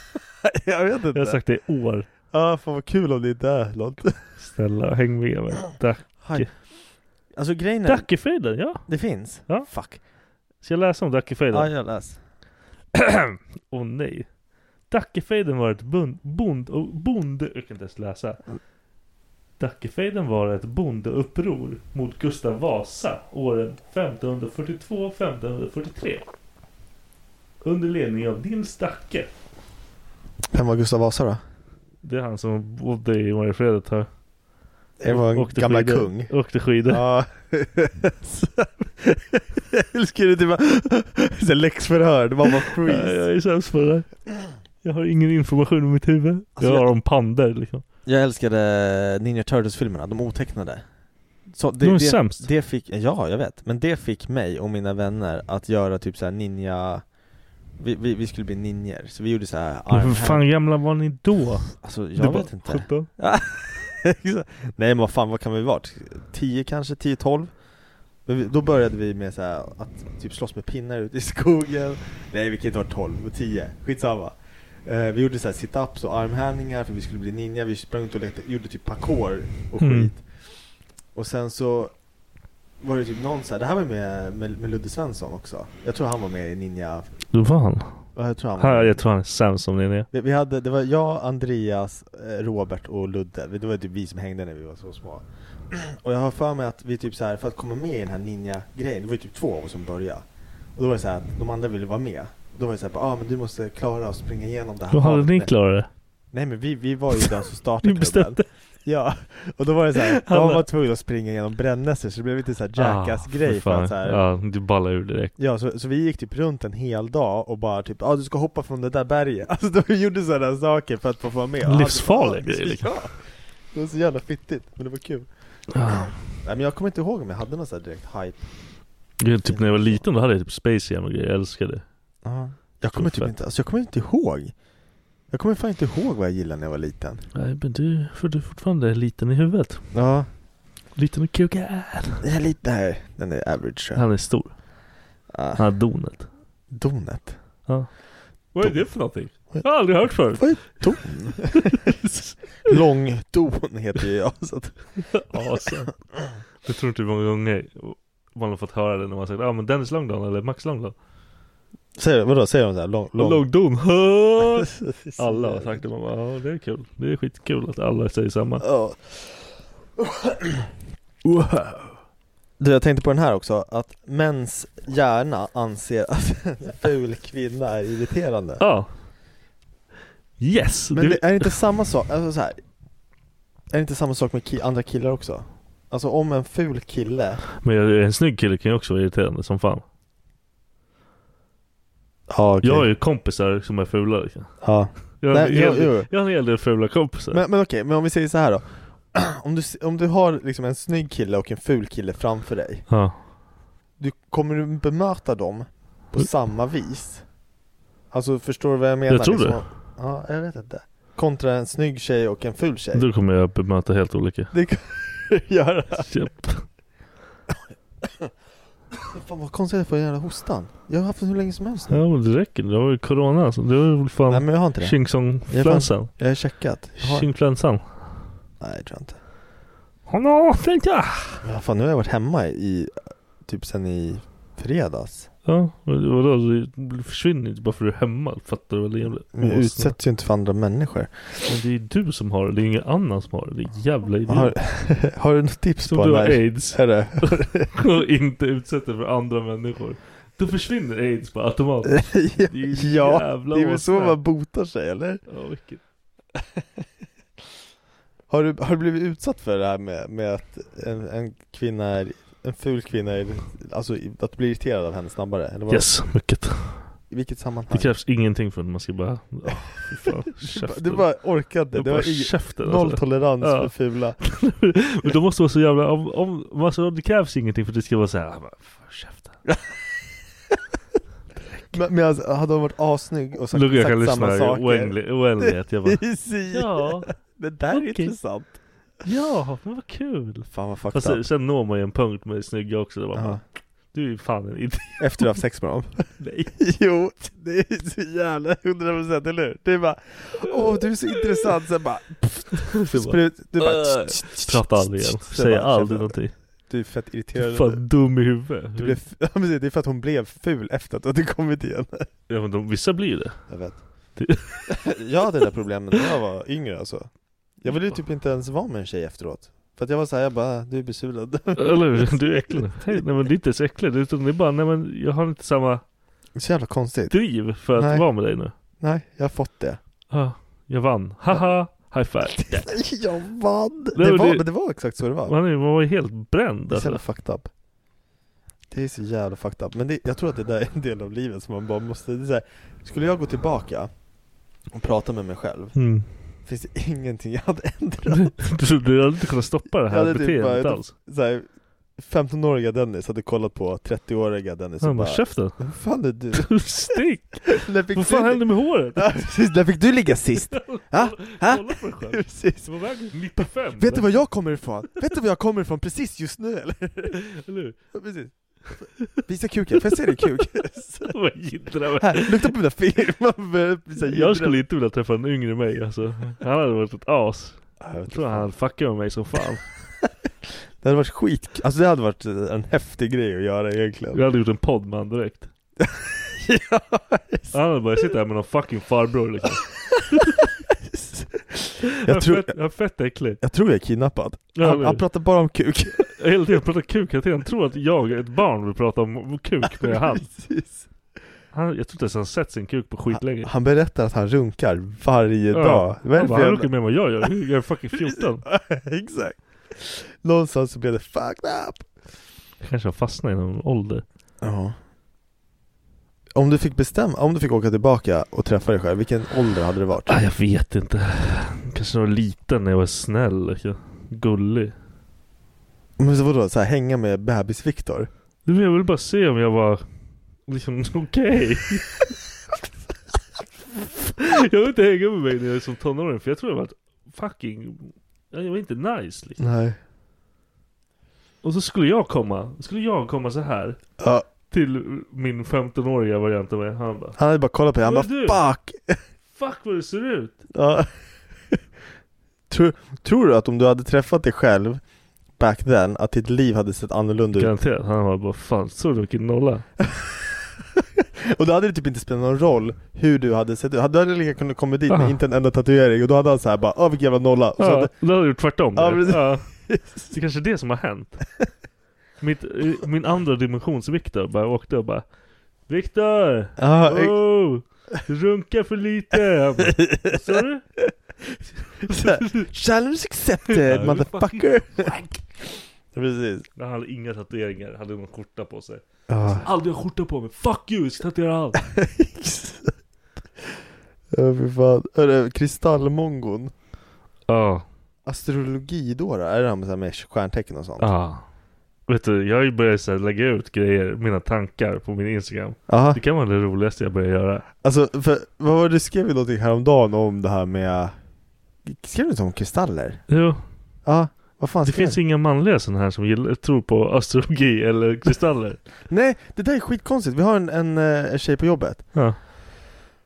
G: [LAUGHS] jag vet inte.
D: Jag har sagt det i år.
G: Ja, fan vad kul om det inte är något.
D: Snälla, häng med mig. Dack-
G: Hype. Alltså grejen är...
D: Dackefejden, ja.
G: Det finns?
D: Ja.
G: Fuck.
D: Ska jag läsa om
G: Ja,
D: Dackefejden?
G: jag läs.
D: [CLEARS THROAT] Åh nej. Dackefejden var ett bond... bond och bonde... Jag kan inte ens läsa. Dackefejden var ett bondeuppror mot Gustav Vasa åren 1542-1543. Under ledning av Nils Dacke.
G: Vem var Gustav Vasa då?
D: Det är han som bodde i Mariefredet här.
G: Det var en
D: Åkte
G: gamla
D: skidor.
G: kung.
D: Åkte skidor.
G: Ja. [LAUGHS] Jag älskar det typ bara- [LAUGHS] så här läxförhör, det var bara
D: Nej,
G: freeze.
D: jag är sämst på det här. Jag har ingen information i mitt huvud.
G: Alltså,
D: jag har
G: jag-
D: om pandor liksom.
G: Jag älskade Ninja Turtles-filmerna, de otecknade. Så det,
D: De är
G: det,
D: sämst.
G: Det fick, ja jag vet, men det fick mig och mina vänner att göra typ så här ninja vi, vi, vi skulle bli ninjer, så vi gjorde så här
D: Men hur
G: armhävningar.
D: fan gamla var ni då?
G: Alltså
D: Du
G: jag
D: bara,
G: vet inte
D: 17?
G: Exakt. Nej men vad fan, vad kan vi varit? 10 kanske, [LAUGHS] 10-12? Men vi, då började vi med så här, att typ slåss med pinnar ute i skogen Nej vi kan inte vara 12, men 10, skitsamma eh, Vi gjorde så här sit-ups och armhävningar för vi skulle bli ninja, vi sprang ut och lekte, gjorde typ parkour och skit
D: Mm.
G: Och sen så var det typ någon så här, det här var med, med, med Ludde Svensson också Jag tror han var med i ninja,
D: Du vann.
G: Ja, jag tror han var
D: Här,
G: med.
D: jag tror han är sämst som ni är.
G: Vi, vi hade, det var jag, Andreas, eh, Robert och Ludde. Vi- Det var typ vi som hängde när vi var så små. Och jag har för mig att vi typ så här, för att komma med i den här ninja-grejen, det var ju typ två av oss som började. Och då var det så här att de andra ville vara med. Då var det såhär, ja ah, men du måste klara och springa igenom det här.
D: Då hade ni
G: vapnet."
D: klarat det.
G: Nej men vi, vi var ju de som startade
D: Ni
G: klubben.
D: bestämde.
G: Ja, och då var det så här, [LAUGHS]
D: Han
G: de
D: bara-
G: var tvungna att springa genom brännässlor så det blev lite så här
D: Ah, för
G: jackass-grej för
D: fan.
G: att så här,
D: Ja, du ballar ur direkt.
G: Ja, så, så vi gick typ runt en hel dag och bara typ, ja ah, du ska hoppa från det där berget [LAUGHS] Alltså de gjorde sådana saker för att få vara med
D: Livsfarliga
G: Och han bara,
D: grejer,
G: [LAUGHS]
D: liksom.
G: Ja! Det var så jävla fittigt, men det var kul Nej men jag kommer inte ihåg om jag hade någon sån här direkt hype
D: Gud, typ när jag var liten då hade jag typ Space Jam och grejer, jag älskade det.
G: Ja. Jag kommer typ inte, alltså jag kommer inte ihåg Jag kommer fan inte ihåg vad jag gillade när jag var liten
D: Nej men du, för du är fortfarande liten i huvudet.
G: Ja
D: Liten och kukar.
G: Jag är lite, nej, den är average tror jag.
D: Han är stor.
G: Ah.
D: Han har donet.
G: Donet?
D: Ja. Vad är det för någonting? Jag har aldrig hört förut.
G: Vad är don? [LAUGHS]
D: [LAUGHS]
G: Långdon heter ju jag så att,
D: Asen. Jag tror inte hur många gånger man har fått höra det när man har sagt ja ah, men Dennis Långdon eller Max Långdon.
G: säger, vadå, säger de såhär lång, lång, [LAUGHS]
D: Långdon. alla har sagt det. Man bara, ja det är kul. Det är skitkul att alla säger samma.
G: Ja. Wow. Du, jag tänkte på den här också, att mäns hjärna anser att [LAUGHS] en ful kvinna är irriterande.
D: Ja. Yes.
G: Men
D: det-
G: det, är det inte samma sak, alltså så här, är det inte samma sak med ki- andra killar också? Alltså om en ful kille,
D: Men jag- en snygg kille kan ju också vara irriterande som fan.
G: ja okej,
D: Jag har ju kompisar som är fula liksom.
G: ja.
D: Jag, har en
G: Nej,
D: hel
G: jo,
D: del-
G: jo.
D: jag har en hel del fula kompisar.
G: Men, men okej, men om vi säger så här då. [CLEARS THROAT] Om du, s- om du har liksom en snygg kille och en ful kille framför dig,
D: Ja.
G: du, kommer du bemöta dem på
D: Mm.
G: samma vis? Alltså förstår du vad jag menar? liksom
D: Jag tror det.
G: Ja, jag vet inte. Kontra en snygg tjej och en ful tjej.
D: Då kommer jag bemöta helt
G: [LAUGHS]
D: olika.
G: Det kan du göra.
D: Japp.
G: Fan vad konstigt att jag får den jävla hostan. Jag har haft den hur länge som helst nu.
D: Ja men det räcker. Det var ju corona alltså. Det var ju fan
G: Nej men jag har inte det.
D: Tjingsongflänsan.
G: Jag har checkat. Jag har...
D: Tjingflänsan.
G: Nej jag tror inte.
D: Hallå Flenka!
G: Men fan nu har jag varit hemma i typ sen i fredags.
D: Ja, men vadå? Du försvinner inte bara för att du är hemma. Fattar du vad det är?
G: Men jag utsätts ju inte för andra människor.
D: Men det är ju du som har det. Det är ingen annan som har det. Det är jävla idiot.
G: Har, [LAUGHS] har du något tips
D: Som
G: på
D: du har
G: när-
D: aids.
G: Är det?
D: [LAUGHS] Och inte utsätter för andra människor. Då försvinner aids bara automatiskt. Det är ju
G: [LAUGHS] ja,
D: jävla
G: det är väl så
D: åsna.
G: man botar sig eller?
D: Ja, vilket-
G: Har du, har du blivit utsatt för det här med, med att en, en kvinna är, en ful kvinna är, alltså i- att du blir irriterad av henne snabbare? Eller vad,
D: Yes, mycket.
G: I vilket
D: Det
G: sammanhang?
D: krävs ingenting för att man ska bara... ja, fy
G: [LAUGHS]
D: fan,
G: Du bara-
D: käften.
G: du bara orkade,
D: Jag
G: det
D: bara
G: var ingen,
D: käften
G: noll
D: alltså.
G: tolerans
D: Ja.
G: för fula
D: [LAUGHS] Men då måste vara så jävla... Om, om, alltså, det krävs ingenting för att det ska vara så här. "Ah, Bara, fan,
G: [LAUGHS]
D: käften.
G: Men, men alltså, hade hon varit assnygg och sagt,
D: Lugg, jag kan
G: sagt
D: lyssna
G: samma
D: i
G: saker?
D: oändlig- oändlighet. Jag bara,
G: [LAUGHS] Precis.
D: ja,
G: Det där är
D: Okej.
G: intressant
D: ja, men vad kul.
G: Fan vad fucked
D: Fast sen- sen når man ju en punkt med snygga också. Det bara,
G: Ja.
D: Du är ju fan en idiot.
G: Efter du har haft sex med dem?
D: Nej.
G: [LAUGHS] Jo, det är så jävla 100% eller hur? Det är bara Åh du är så intressant, sen bara
D: [LAUGHS] Du bara,
G: sprut, du bara
D: "Äh." Prata aldrig igen.
G: Sen
D: Säg
G: bara,
D: aldrig
G: "Käften."
D: någonting.
G: Du är fett
D: Du är
G: irriterad
D: fan dum i huvudet.
G: du blev, f- [LAUGHS] ja, precis, Det är för att hon blev ful efter att du hade kommit igen
D: Ja, men de, vissa blir ju det.
G: Jag vet
D: Det-
G: [LAUGHS] Jag hade det där problemet när jag var yngre alltså Jag ville ju typ inte ens vara med en tjej efteråt För att jag var såhär, jag bara, du är besudlad
D: [LAUGHS] Eller hur? Du är äcklig. Hej, nej men det är inte ens äckligt. Utan det är bara, nej men jag har inte samma
G: Så jävla konstigt
D: driv för att
G: Nej.
D: vara med dig nu.
G: Nej, jag har fått det
D: Ah, jag vann. Haha! High five.
G: [LAUGHS] Jag vann!
D: Nej,
G: Det
D: men
G: var,
D: det-
G: men det var exakt så det var
D: Man, är, man var ju helt bränd
G: Det är så
D: alltså.
G: jävla fucked up Det är så jävla fucked up, men det, jag tror att det där är en del av livet som man bara måste, det är så här, Skulle jag gå tillbaka och prata med mig själv
D: Mm.
G: Finns det ingenting jag hade ändrat?
D: [LAUGHS] Du, du hade inte kunnat stoppa det
G: Jag
D: här
G: hade typ
D: beteendet
G: bara-
D: alls.
G: Så här, 15-åriga Dennis hade kollat på 30-åriga Dennis och
D: Han bara,
G: bara [LAUGHS]
D: käften.
G: Vad fan är du?
D: Stick!
G: [LAUGHS] När fick,
D: Vad fan
G: du,
D: hände med
G: [LAUGHS]
D: håret?
G: ja, precis, när fick du ligga sist? Ja? Ja?
D: Kolla på dig själv.
G: [LAUGHS] Precis.
D: Du var väg 95.
G: Vet du var jag
D: [LAUGHS]
G: kommer ifrån? Vet du var jag kommer ifrån precis just nu eller?
D: Eller hur?
G: Ja, Precis. Visa kuken, får jag se din kuk?
D: [LAUGHS] Vad jiddrar med?
G: Här, lukta på mina fingrar, man börjar bli så här
D: Jag skulle inte vilja träffa en yngre mig alltså. Han hade varit ett as.
G: Ja, jag
D: Jag
G: vet
D: tror
G: inte.
D: han fuckade med mig som
G: [LAUGHS]
D: fan.
G: Det hade varit skit, alltså det hade varit en häftig grej att göra [LAUGHS] egentligen
D: Jag hade gjort en podd med honom direkt.
G: [LAUGHS] Ja,
D: Han hade bara suttit här med någon fucking farbror liksom. Han är
G: [LAUGHS] jag, tror,
D: fett, han är fett äcklig.
G: jag tror jag är kidnappad
D: Ja,
G: han,
D: men-
G: han pratar bara om kuk [LAUGHS]
D: Hela tiden pratar kuk hela tiden. Han tror att jag, ett barn, vill prata om om kuk med han.
G: Precis.
D: Han, jag tror inte ens han sett sin kuk på skitlänge.
G: Han berättar att han runkar varje
D: Ja.
G: dag. Vad är
D: Han bara,
G: det för
D: han
G: jävla-
D: runkar mer än vad jag gör. Jag är fucking
G: [LAUGHS]
D: 14.
G: [LAUGHS] Exakt. Någonstans så blev det fucked up.
D: Jag kanske har fastnat i någon ålder.
G: Ja. Om du fick bestämma, om du fick åka tillbaka och träffa dig själv, vilken ålder hade det varit?
D: Ah, jag vet inte. Kanske när jag var liten, när jag var snäll. liksom. Gullig.
G: Men så vadå, så här, hänga med bebis-Viktor?
D: Du vet, jag vill bara se om jag var liksom [LAUGHS] okej. jag vill inte hänga med mig när jag är som tonåring för jag tror jag var fucking... ja, Jag var inte nice liksom.
G: Nej.
D: Och så skulle jag komma, skulle jag komma så här
G: Ja.
D: Till min 15-åriga variant av mig. Han bara
G: Han hade bara kollat på dig, han bara
D: "Vad är du?
G: 'fuck'
D: Fuck vad du ser ut!
G: ja. tror, tror du att om du hade träffat dig själv back then, att ditt liv hade sett annorlunda ut?
D: Garanterat. Han var bara fan såg du vilken nolla?
G: Och då hade det typ inte spelat någon roll hur du hade sett ut, du hade lika kunnat komma dit med
D: Ah.
G: inte en enda tatuering och då hade han såhär bara 'Åh vilken jävla nolla' och så
D: Ja,
G: hade,
D: då hade jag gjort tvärtom.
G: Ja,
D: du vet.
G: precis.
D: ja.
G: [LAUGHS]
D: Det är kanske är det som har hänt. Mitt, eh, min andra dimensions Viktor bara åkte och bara Viktor!
G: Ja, eh.
D: oh, du runkar för lite! Jag bara, Vad sa du?
G: [LAUGHS] Så här,
D: [LAUGHS]
G: Challenge accepted motherfucker! Precis.
D: Nej, Han hade inga tatueringar, hade någon skjorta på sig.
G: Ja.
D: Aldrig ha skjorta på mig, fuck you! Jag ska tatuera allt!
G: [LAUGHS] Ja fy fan. Hörru, kristallmongon.
D: Ja,
G: Astrologi då, då? Är det han med, så här med stjärntecken och sånt?
D: ja. Vet du, jag har ju börjat så här, lägga ut grejer, mina tankar på min Instagram.
G: Aha.
D: Det kan vara det roligaste jag börjar göra.
G: Alltså, för, vad var det du skrev ju någonting häromdagen om det här med... Skrev du inte om kristaller?
D: Jo,
G: Ja, vad fan
D: det
G: skrev
D: finns
G: du?
D: inga manliga sådana här som gillar, tror på astrologi eller kristaller.
G: Nej, det där är skitkonstigt. Vi har en, en, eh, en tjej på jobbet.
D: Ja.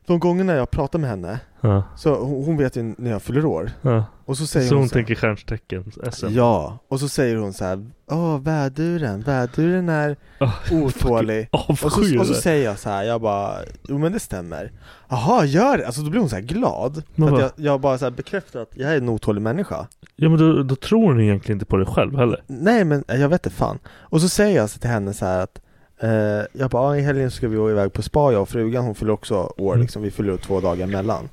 G: De gångerna jag pratar med henne,
D: Ja,
G: så hon, hon vet ju när jag fyller år.
D: ja.
G: Och så säger
D: Så
G: hon,
D: hon
G: så här-
D: tänker stjärntecken, SM.
G: Ja, och så säger hon så här, Åh, väduren, väduren är
D: Ah,
G: otålig.
D: fucking
G: Och så,
D: avskyr
G: och så
D: det.
G: säger jag så här, jag bara, jo men det stämmer. Jaha, gör det? Alltså då blir hon så här glad.
D: Men
G: För att
D: vad-
G: jag, jag bara så här bekräftar att jag är en otålig människa.
D: Ja men då, då tror hon egentligen inte på dig själv heller.
G: Nej men jag vet inte fan. Och så säger jag så till henne så här att eh, jag bara, "Ja, i helgen ska vi gå iväg på spa jag och frugan, hon fyller också år liksom, vi fyller upp två dagar emellan.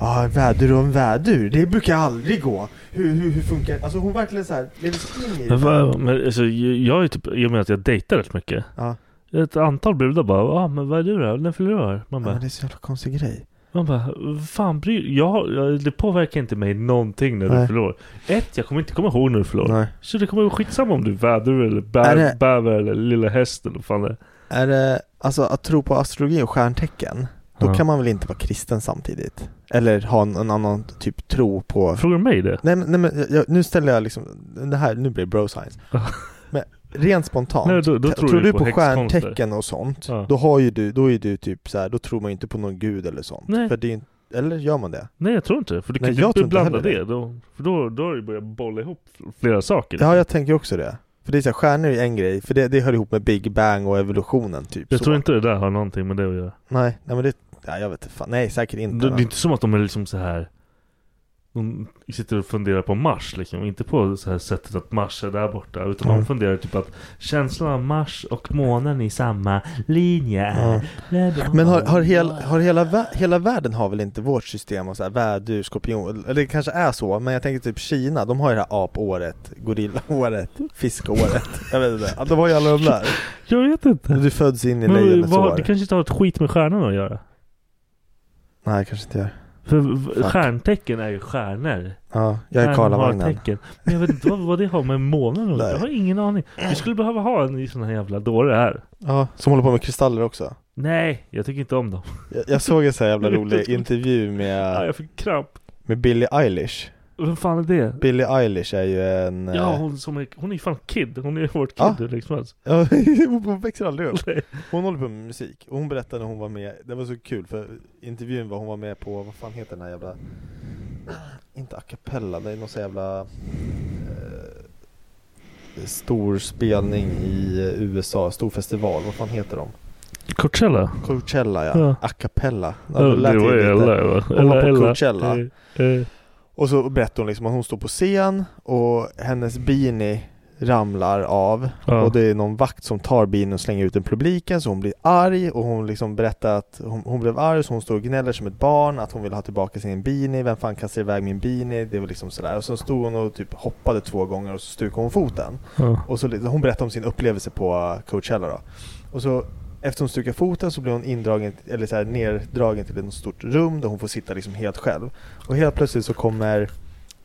G: Ja, vädur och en vädur, det brukar aldrig gå. Hur, hur, hur funkar det? Alltså hon verkligen så här, lever sig in i det. liksom
D: Men, vad- men alltså, jag jag är typ, i och med att jag dejtar rätt mycket.
G: Ja.
D: Ett antal brudar bara, ah, men vad är du då? När fyller du år? Man
G: Ja,
D: bara,
G: det är så jävla konstig grej.
D: man bara fan bryr jag, jag- Det påverkar inte mig någonting när
G: Nej.
D: du förlorar. Ett, jag kommer inte komma ihåg när du förlorar.
G: Nej.
D: Så det kommer vara skitsamma om du är vädur eller
G: Är
D: bä,
G: det-
D: bäver eller lilla häst eller vad fan det är.
G: Är det, alltså att tro på astrologi och stjärntecken, då
D: Ja.
G: kan man väl inte vara kristen samtidigt? Eller ha en, en annan typ tro på...
D: Frågar du mig det?
G: Nej men, nej, men jag- jag, nu ställer jag liksom, det här, nu blir det bro science. men rent spontant,
D: Nej, då- då
G: t-
D: tror
G: tror
D: jag
G: du
D: på
G: på,
D: häxkonster.
G: stjärntecken och sånt,
D: Ja.
G: då har ju du, då är ju du typ så här, då tror man ju inte på någon gud eller sånt.
D: Nej.
G: För det är, ju inte- eller gör man det?
D: Nej jag tror inte det. För du
G: Nej,
D: kan ju
G: jag tror
D: inte
G: inte
D: blanda
G: heller
D: det.
G: det.
D: Då, för då, då har du börjat bolla ihop flera saker.
G: Ja, jag tänker också det. För det är så här, stjärnor är ju en grej, för det, det hör ihop med Big Bang och evolutionen typ.
D: jag
G: så.
D: tror inte det där har någonting med det att göra.
G: Nej, nej men det, nej, jag vet inte, fan. nej säkert inte.
D: Det, det
G: men-
D: är inte som att de är liksom så här De sitter och funderar på Mars liksom, inte på så här sättet att Mars är där borta Utan
G: Mm.
D: de funderar typ att känslan av Mars och månen i samma linje
G: Ja.
D: är Bla, bla,
G: Mm. Men har,
D: bla,
G: har, hel,
D: bla.
G: har hela, vä- hela världen har väl inte vårt system av så här vädur, skorpion, eller det kanske är så, men jag tänker typ Kina, de har ju det här apåret, gorillaåret, fiskåret, jag vet inte, Ja, de har ju alla de där.
D: [LAUGHS] Jag vet inte
G: Du föds in i
D: men,
G: lejonets
D: vad, Det
G: år.
D: kanske inte har ett skit med stjärnorna att göra
G: Nej, kanske inte gör.
D: För v-
G: Fuck.
D: stjärntecken är ju stjärnor
G: Ja, jag
D: Stjärnor
G: är
D: har
G: Karlavagnen.
D: tecken. Men jag vet inte vad, vad det har med månen att göra
G: Nej.
D: Jag har ingen aning Vi skulle behöva ha en sån här jävla dåre här
G: Ja, som håller på med kristaller också.
D: Nej, jag tycker inte om dem
G: Jag, jag såg en så här
D: [LAUGHS]
G: jävla rolig intervju med,
D: ah, Jag fick kramp
G: med Billie Eilish.
D: Vem fan är det?
G: Billie Eilish är ju en...
D: Ja,
G: eh,
D: hon, som är, hon är ju fan kid. Hon är vårt kid
G: Ja.
D: hur liksom helst.
G: Ja, [LAUGHS] hon växer aldrig upp. Hon håller på med musik, och hon berättade när hon var med, det var så kul för intervjun var hon var med på, vad fan heter den här jävla Inte a cappella, det är någon sån jävla eh, Stor spelning i eh, USA, stor festival, vad fan heter de?
D: [LAUGHS] Coachella?
G: Coachella ja,
D: Ja.
G: a cappella Ja,
D: Ja,
G: det
D: det
G: lät ju
D: var ju
G: lite.
D: Ella va?
G: Hon var på Coachella.
D: Eh, eh,
G: Och så berättade hon liksom att hon står på scen och hennes beanie ramlar av
D: Ja.
G: och det är någon vakt som tar bilen och slänger ut den i publiken så hon blir arg och hon liksom berättar att hon, hon blev arg så hon står och gnäller som ett barn att hon vill ha tillbaka sin beanie, vem fan kastar iväg min beanie? Det var liksom sådär och så stod hon och typ hoppade två gånger och så stukade hon foten.
D: Ja.
G: Och så, li- hon berättade om sin upplevelse på eh, Coachella då. Och så efter hon stukade foten så blir hon indragen, eller så här, nerdragen till ett stort rum där hon får sitta liksom helt själv. Och helt plötsligt så kommer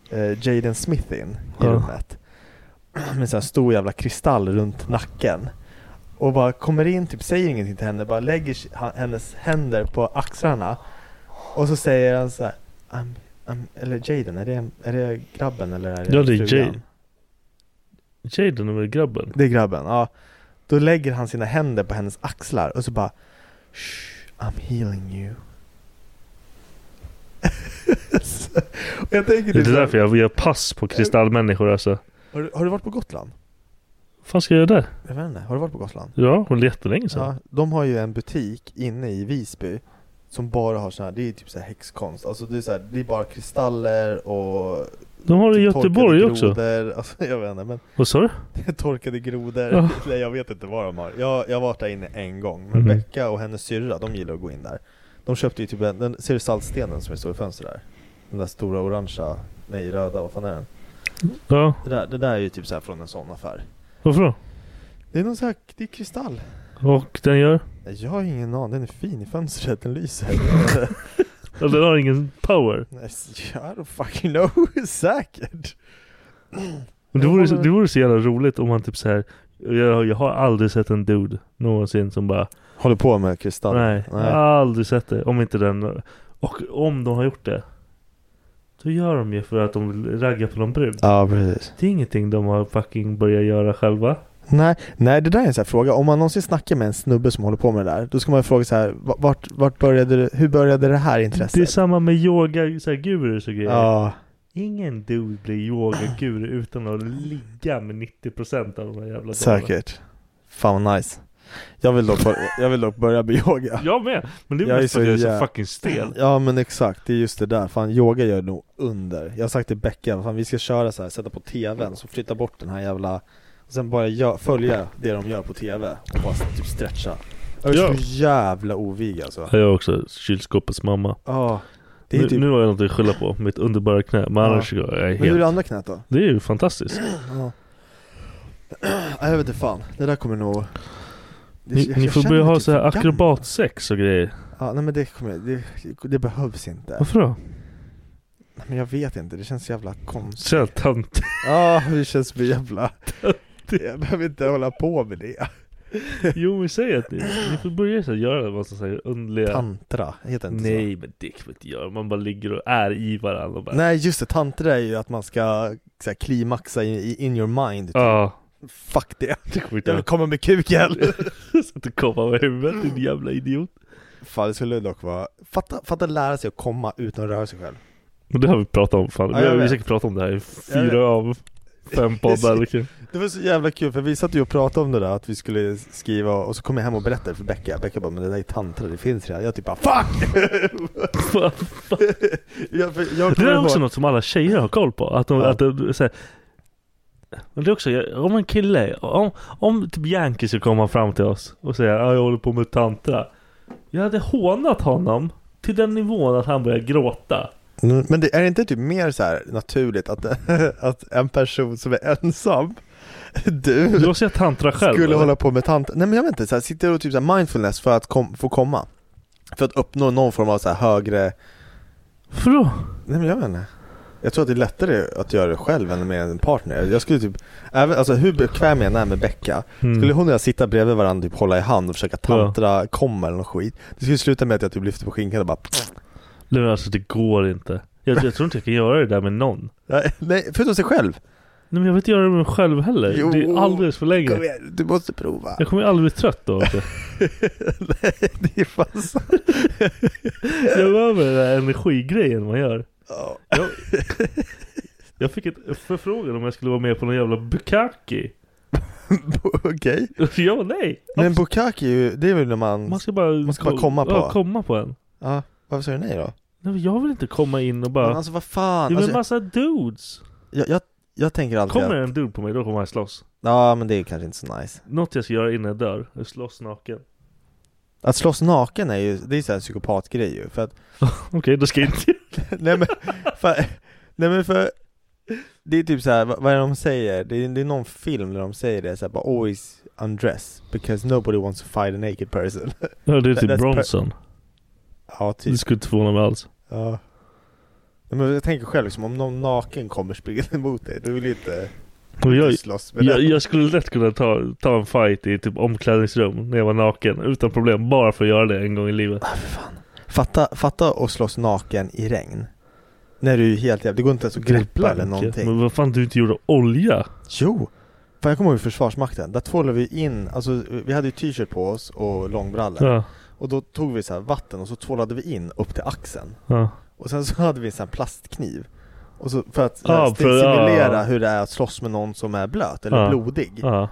G: eh, Jaden Smith in i
D: Ja.
G: rummet. Med en stor jävla kristall runt nacken. Och bara kommer in, typ säger ingenting till henne, bara lägger s- ha- hennes händer på axlarna. Och så säger han så här, I'm, I'm, eller Jaden, är det, är det grabben eller är det
D: Ja, det är
G: frugan?"
D: Jay. Jaden är väl grabben?
G: Det är grabben, ja. Då lägger han sina händer på hennes axlar och så bara Shh, I'm healing you. Och jag tänker
D: Det är
G: typ så här,
D: därför jag gör pass på kristallmänniskor alltså.
G: har, du, har du varit på Gotland?
D: Vad fan ska jag göra det?
G: Jag vet inte, har du varit på Gotland?
D: Ja, hon är jättelänge sedan.
G: Ja, de har ju en butik inne i Visby som bara har sådana här, det är typ så här häxkonst, alltså det är, så här, det är bara kristaller och
D: De har det i
G: typ torkade
D: Göteborg också.
G: grodor. [LAUGHS] Alltså, jag vet inte men
D: Vad sa du?
G: Torkade grodor,
D: Ja.
G: Nej, jag vet inte vad de har Jag, jag har varit där inne en gång, men
D: Mhm.
G: Becka och hennes syrra, de gillar att gå in där De köpte ju typ en, den, ser du saltstenen som är stor i fönstret där? Den där stora orangea, nej röda, vad fan är den?
D: Ja,
G: Det där, det där är ju typ så här från en sån affär
D: varför då?
G: Det är någon sån här, det är kristall
D: Och den gör?
G: Nej, Jag har ingen aning, den är fin i fönstret, den lyser
D: Ja, den har ingen power.
G: Nej, [LAUGHS] I don't fucking know, säkert
D: Men det vore, så-
G: håller-
D: det vore så jävla roligt om man typ så här. Jag, jag har aldrig sett en dude någonsin som bara
G: Håller på med kristall?
D: Nej, jag har aldrig sett det. Om inte den... Och om de har gjort det. Då gör de ju för att de vill ragga på någon brud.
G: Ja precis
D: Det är ingenting de har fucking börjat göra själva.
G: Nej, nej det där är en sån här fråga. Om man någonsin snackar med en snubbe som håller på med det där, då ska man ju fråga så här, "Va- vart, vart började du, hur började det här
D: Det är
G: intresset?
D: samma med yoga, så här gurus och grejer.
G: Ja,
D: Ingen dude blir yogaguru utan att ligga med 90% av de här jävla
G: säkert. Fan vad nice. Jag vill dock, bör- jag vill dock börja med yoga.
D: damerna. Jag med! Men det är
G: Jag är
D: mest för
G: så
D: att jag är
G: jä-
D: så fucking stel.
G: Ja men exakt, det är just det där. Fan yoga gör nog under. Jag har sagt till Becka, fan vi ska köra så här, sätta på tvn, så flytta bort den här jävla och sen bara gö- följa det de gör på tv och bara typ stretcha. Jag är
D: Ja.
G: så jävla ovig alltså.
D: Jag är också kylskåpets mamma.
G: Ja. Det är
D: Nu,
G: typ,
D: nu har jag något att skylla på, mitt underbara knä. Men
G: Ja.
D: annars är jag
G: men hur är
D: helt...
G: det andra knät då?
D: Det är ju fantastiskt.
G: Ja. Nej, jag vet inte fan, det där kommer nog... Det-
D: Ni,
G: jag-
D: ni
G: jag
D: får
G: känner
D: börja
G: mig
D: ha
G: typ
D: så här
G: för gammal.
D: akrobatsex och grejer.
G: Ja, nej men det kommer jag- det, det behövs inte.
D: Varför då?
G: Nej, Men jag vet inte, det känns så jävla konstigt.
D: Så jävla tönt.
G: Ja, [LAUGHS] det känns så jävla... Jag behöver inte hålla på med det.
D: [LAUGHS] Jo men säg att ni, ni får börja så här, göra en massa så här underliga...
G: Tantra, heter det inte så?
D: Nej men det kan man inte göra. Man bara ligger och är i varandra och bara...
G: Nej just det, tantra är ju att man ska så här, klimaxa i, i- in your mind. typ.
D: Ja.
G: Fuck det.
D: [LAUGHS] Det kommer inte
G: Jag vill
D: att
G: komma med kuken.
D: [LAUGHS] så att du kommer med huvudet
G: Mm.
D: din jävla idiot.
G: Fan det skulle dock vara... Fatta, fatta lära sig att komma utan att röra sig själv.
D: Men det har vi pratat om fan.
G: Ja,
D: vi
G: jag
D: har vi har
G: vet.
D: säkert pratat om det här i
G: Jag vet.
D: fyra av
G: [LAUGHS]
D: fem poddar. liksom.
G: Det var så jävla kul för vi satt ju och pratade om det där att vi skulle skriva och så kom jag hem och berättade för Becka Becka bara 'Men det där är tantra, det finns redan' Jag typ bara 'FUCK!'
D: Fan.
G: [LAUGHS] jag, för, jag
D: Det
G: kommer
D: där är
G: ihåg-
D: också något som alla tjejer har koll på. Att de,
G: Ja.
D: att de så här, men det är också, jag- om en kille, om, om typ Yankee skulle komma fram till oss och säga "Ja, jag håller på med tantra. Jag hade hånat honom till den nivån att han började
G: [LAUGHS]
D: gråta.
G: Mm, Men det, är det inte typ mer så här naturligt att, [LAUGHS] att en person som är ensam Du
D: Du har sett tantra själv?
G: skulle
D: eller?
G: hålla på med tantra, nej men jag vet inte, så här, sitter och typ så här mindfulness för att kom, få komma För att uppnå någon form av så här högre,
D: Varför då?
G: nej men jag vet inte jag tror att det är lättare att göra det själv än med en partner. Jag skulle typ, även, alltså hur bekväm jag än är med Becka,
D: Mm.
G: Skulle hon och jag sitta bredvid varandra, typ hålla i hand och försöka
D: Ja.
G: tantra, komma eller något skit Det skulle sluta med att jag typ lyfter på skinkan och bara
D: Nej men alltså det går inte. Jag, jag tror inte jag kan göra det där med någon.
G: Nej, Nej, förutom sig själv!
D: Nej men jag vill inte göra det med mig själv heller.
G: Jo.
D: Det är alldeles för länge.
G: Kom igen, du måste prova!
D: Jag kommer ju aldrig bli trött då alltså. också.
G: [LAUGHS] Nej, det är fan så-
D: [LAUGHS] Jag behöver den där energigrejen man gör.
G: Ja.
D: Jag, jag fick ett förfrågan om jag skulle vara med på någon jävla [LAUGHS] bukkake.
G: Okej,
D: Och Jag bara, nej.
G: men bukaki är ju, det är väl när man...
D: Man ska bara,
G: man ska bara komma på.
D: Ja, komma på en.
G: Ja, varför säger du nej då?
D: Nej, men jag vill inte komma in och bara...
G: Men alltså vad fan,
D: det är väl en
G: alltså,
D: massa dudes.
G: jag, jag,
H: jag tänker alltid
D: Kommer
H: att,
D: en dude på mig, då kommer jag slåss.
H: Ja men det är kanske inte så nice
D: Något jag ska göra innan jag dör, är slåss naken.
H: Att slåss naken är ju, det är ju så här en psykopatgrej ju för att
D: Okej, då ska jag inte... [LAUGHS]
H: nej men, för, nej men för Det är typ så här, vad, vad är det de säger? Det är, det är någon film där de säger det såhär bara always undress because nobody wants to fight a naked person
D: Ja, det är typ
H: That's per-
D: Bronson.
H: Ja
D: Det
H: typ
D: skulle inte förvåna mig alls.
H: Ja Nej, men jag tänker själv liksom, om någon naken kommer [LAUGHS] springande mot dig, du vill ju inte
D: Och jag,
H: slåss med
D: jag,
H: den
D: jag skulle lätt kunna ta, ta en fight i typ omklädningsrum när jag var naken. Utan problem. Bara för att göra det en gång i livet.
H: Fatta, fatta och slåss naken i regn När du är helt jävla, det går inte ens att greppa Alltså, eller någonting
D: Men vad fan, du är inte gjord av olja?
H: Jo! Fan jag kommer ihåg i Försvarsmakten, där tvålade vi in, alltså vi hade ju t-shirt på oss och långbrallor
D: Ja.
H: Och då tog vi så här vatten och så tvålade vi in upp till axeln
D: Ja.
H: Och sen så hade vi en sån här plastkniv Och så för att
D: Ah,
H: ah,
D: för-
H: simulera
D: ah.
H: hur det är att slåss med någon som är blöt eller
D: Ja.
H: blodig
D: Ja.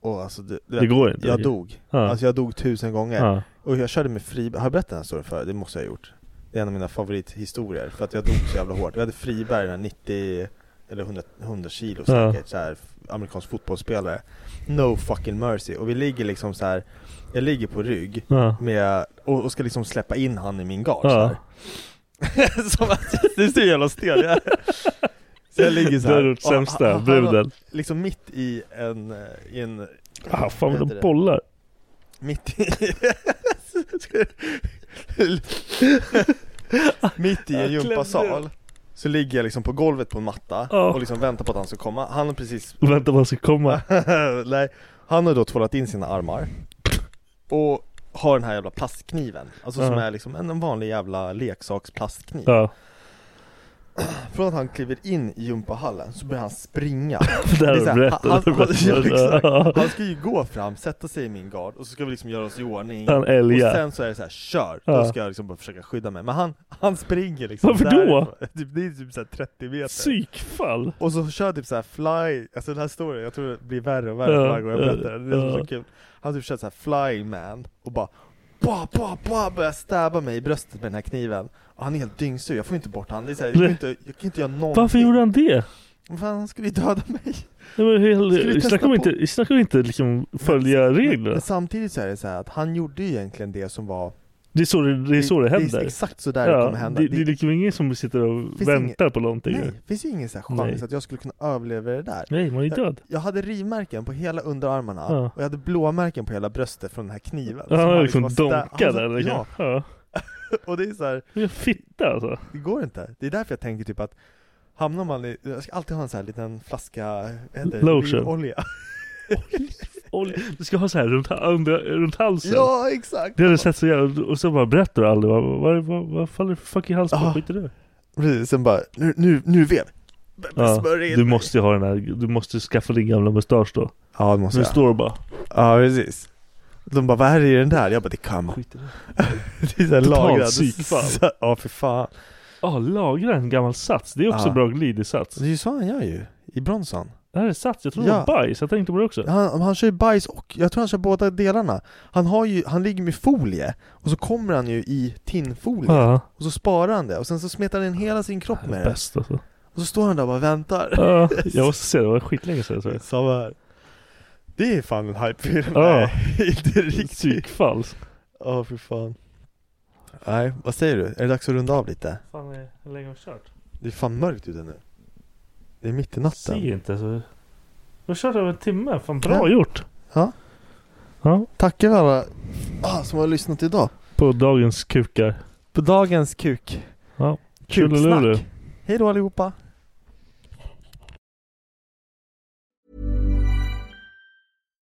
H: Och alltså du, du
D: Det
H: vet,
D: går inte.
H: Jag dog,
D: Ja.
H: alltså jag dog tusen gånger
D: Ja.
H: Och jag körde med fri... Har jag berättat den här storyn förut? Det måste jag ha gjort Det är en av mina favorithistorier för att jag dog så jävla hårt Vi hade Friberg, den här 90 eller 100, 100 kilo
D: Ja.
H: säkert, så här, amerikansk fotbollsspelare No fucking mercy, och vi ligger liksom så här. Jag ligger på rygg
D: Ja.
H: med, och, och ska liksom släppa in han i min gard
D: Ja.
H: så här. [LAUGHS] Som att, du ser hur jävla stel
D: [LAUGHS]
H: jag är Så jag ligger så här.
D: Det har du gjort
H: och han-
D: sämsta,
H: han- han var
D: bruden.
H: Liksom mitt i en, eh, i en
D: Ah, fan
H: vad
D: vad
H: heter
D: de
H: det?
D: bollar.
H: Mitt i... [LAUGHS] Mitt i en
D: Jag
H: gympasal
D: klämde.
H: Så ligger jag liksom på golvet på en matta
D: Ja.
H: och liksom väntar på att han ska komma Han har precis...
D: Vänta vad ska komma.
H: Nej, han har då tvålat in sina armar Och har den här jävla plastkniven [LAUGHS] Alltså som
D: Ja.
H: är liksom en en vanlig jävla leksaksplastkniv
D: Ah. Ja.
H: [CLEARS THROAT] Från att han kliver in i gympahallen så börjar han springa
D: [LAUGHS] Det här
H: är
D: har
H: så
D: du
H: här, han,
D: berättat.
H: han, [LAUGHS] ja,
D: Ja. [LAUGHS]
H: exakt. han ska ju gå fram, sätta sig i min gard och så ska vi liksom göra oss i ordning
D: Han älgar.
H: Och sen så är det så här, kör!
D: Ja.
H: Då ska jag liksom bara försöka skydda mig Men han, han springer liksom
D: Varför då?
H: därifrån. [LAUGHS] Typ, det är typ så här 30 meter
D: Psykfall.
H: Och så kör typ så här fly, alltså den här storyn, jag tror det blir värre och värre
D: Ja,
H: för varje gång jag
D: ja,
H: berättar den, det är
D: ja.
H: så kul Han typ kör så här fly man och bara Ba, ba, ba, börjar stäba mig i bröstet med den här kniven och han är helt dyngsur, jag får inte bort han, det är så här, jag, kan inte, jag kan inte göra någonting
D: Varför gjorde han det?
H: Vad fan, han skulle ju döda mig
D: Nej, men
H: Skulle vi
D: hel...
H: testa
D: Snacka om
H: på-
D: inte, snacka om inte liksom följa
H: Men,
D: reglerna.
H: men samtidigt så är det så här att han gjorde ju egentligen det som var
D: Det är så det, det, är så det
H: Det är
D: händer.
H: exakt så där det kommer hända
D: det, det är liksom ingen som sitter och
H: Finns
D: väntar på någonting.
H: Nej,
D: Nej,
H: det finns ju ingen så här chans
D: Nej.
H: att jag skulle kunna överleva det där
D: man är död.
H: Jag hade rivmärken på hela underarmarna
D: Ja.
H: och jag hade blåmärken på hela bröstet från den här kniven
D: Ja,
H: Som
D: han
H: har
D: har liksom
H: varit där-
D: donkat där.
H: han-
D: Liksom.
H: Ja,
D: Ja.
H: och det är så här,
D: Jag fitta alltså.
H: det går inte Det är därför jag tänker typ att Hamnar man i, jag ska alltid ha en sån här liten flaska, vad heter det?
D: Lotion. [LAUGHS]
H: olja
D: Oj, Du ska ha så här runt, ha- under, runt halsen.
H: Ja exakt!
D: Det hade sett så jävla... Och så bara berättar du aldrig. Vad, vad, vad, vad faller det för fucking hals på?
H: Ja.
D: Skit i det.
H: Precis, sen bara, nu, nu, nu vev! B-
D: Ja,
H: smörj in
D: du
H: mig.
D: måste ju ha den här, du måste skaffa din gamla mustasch då.
H: Ja det måste
D: Nu
H: jag
D: står du bara
H: Ja precis De bara, vad är det i den där? Jag bara, det kan man
D: Skit i det.
H: [LAUGHS] Det är såhär
D: Totalt
H: lagrad
D: psykfall.
H: Så- Ja för fan
D: Ja, lagra en gammal sats. Det är också
H: Ja.
D: bra glid i sats.
H: Det är ju så han gör ju, i Bronson
D: Det här är sats, jag tror det var
H: Ja.
D: bajs. Jag tänkte på det också.
H: han, han kör ju bajs och, jag tror han kör båda delarna Han har ju, han ligger med folie Och så kommer han ju i tinnfolie
D: Ja,
H: Och så sparar han det och sen så smetar han in hela sin kropp
D: det
H: med
D: är
H: det [LAUGHS]
D: bäst alltså.
H: Och så står han där och bara väntar
D: Ja, jag måste säga det var skitlänge sedan så.
H: Samma här Det är fan en hypefilm
D: Ja.
H: Nej, inte riktigt
D: Psykfall.
H: Ja för fan Nej, vad säger du? Är det dags att runda av lite?
D: Fan, hur länge har vi kört?
H: Det är fan mörkt ute nu Det är mitt i
D: Ser
H: natten
D: inte alltså. Vi har kört över en timme. Fan, bra
H: Ja.
D: gjort.
H: Ja.
D: Ja,
H: Tackar vi alla ah, som har lyssnat idag
D: på dagens kukar.
H: På dagens kuk
D: Ja. Kullululu.
H: Kuksnack Hej då allihopa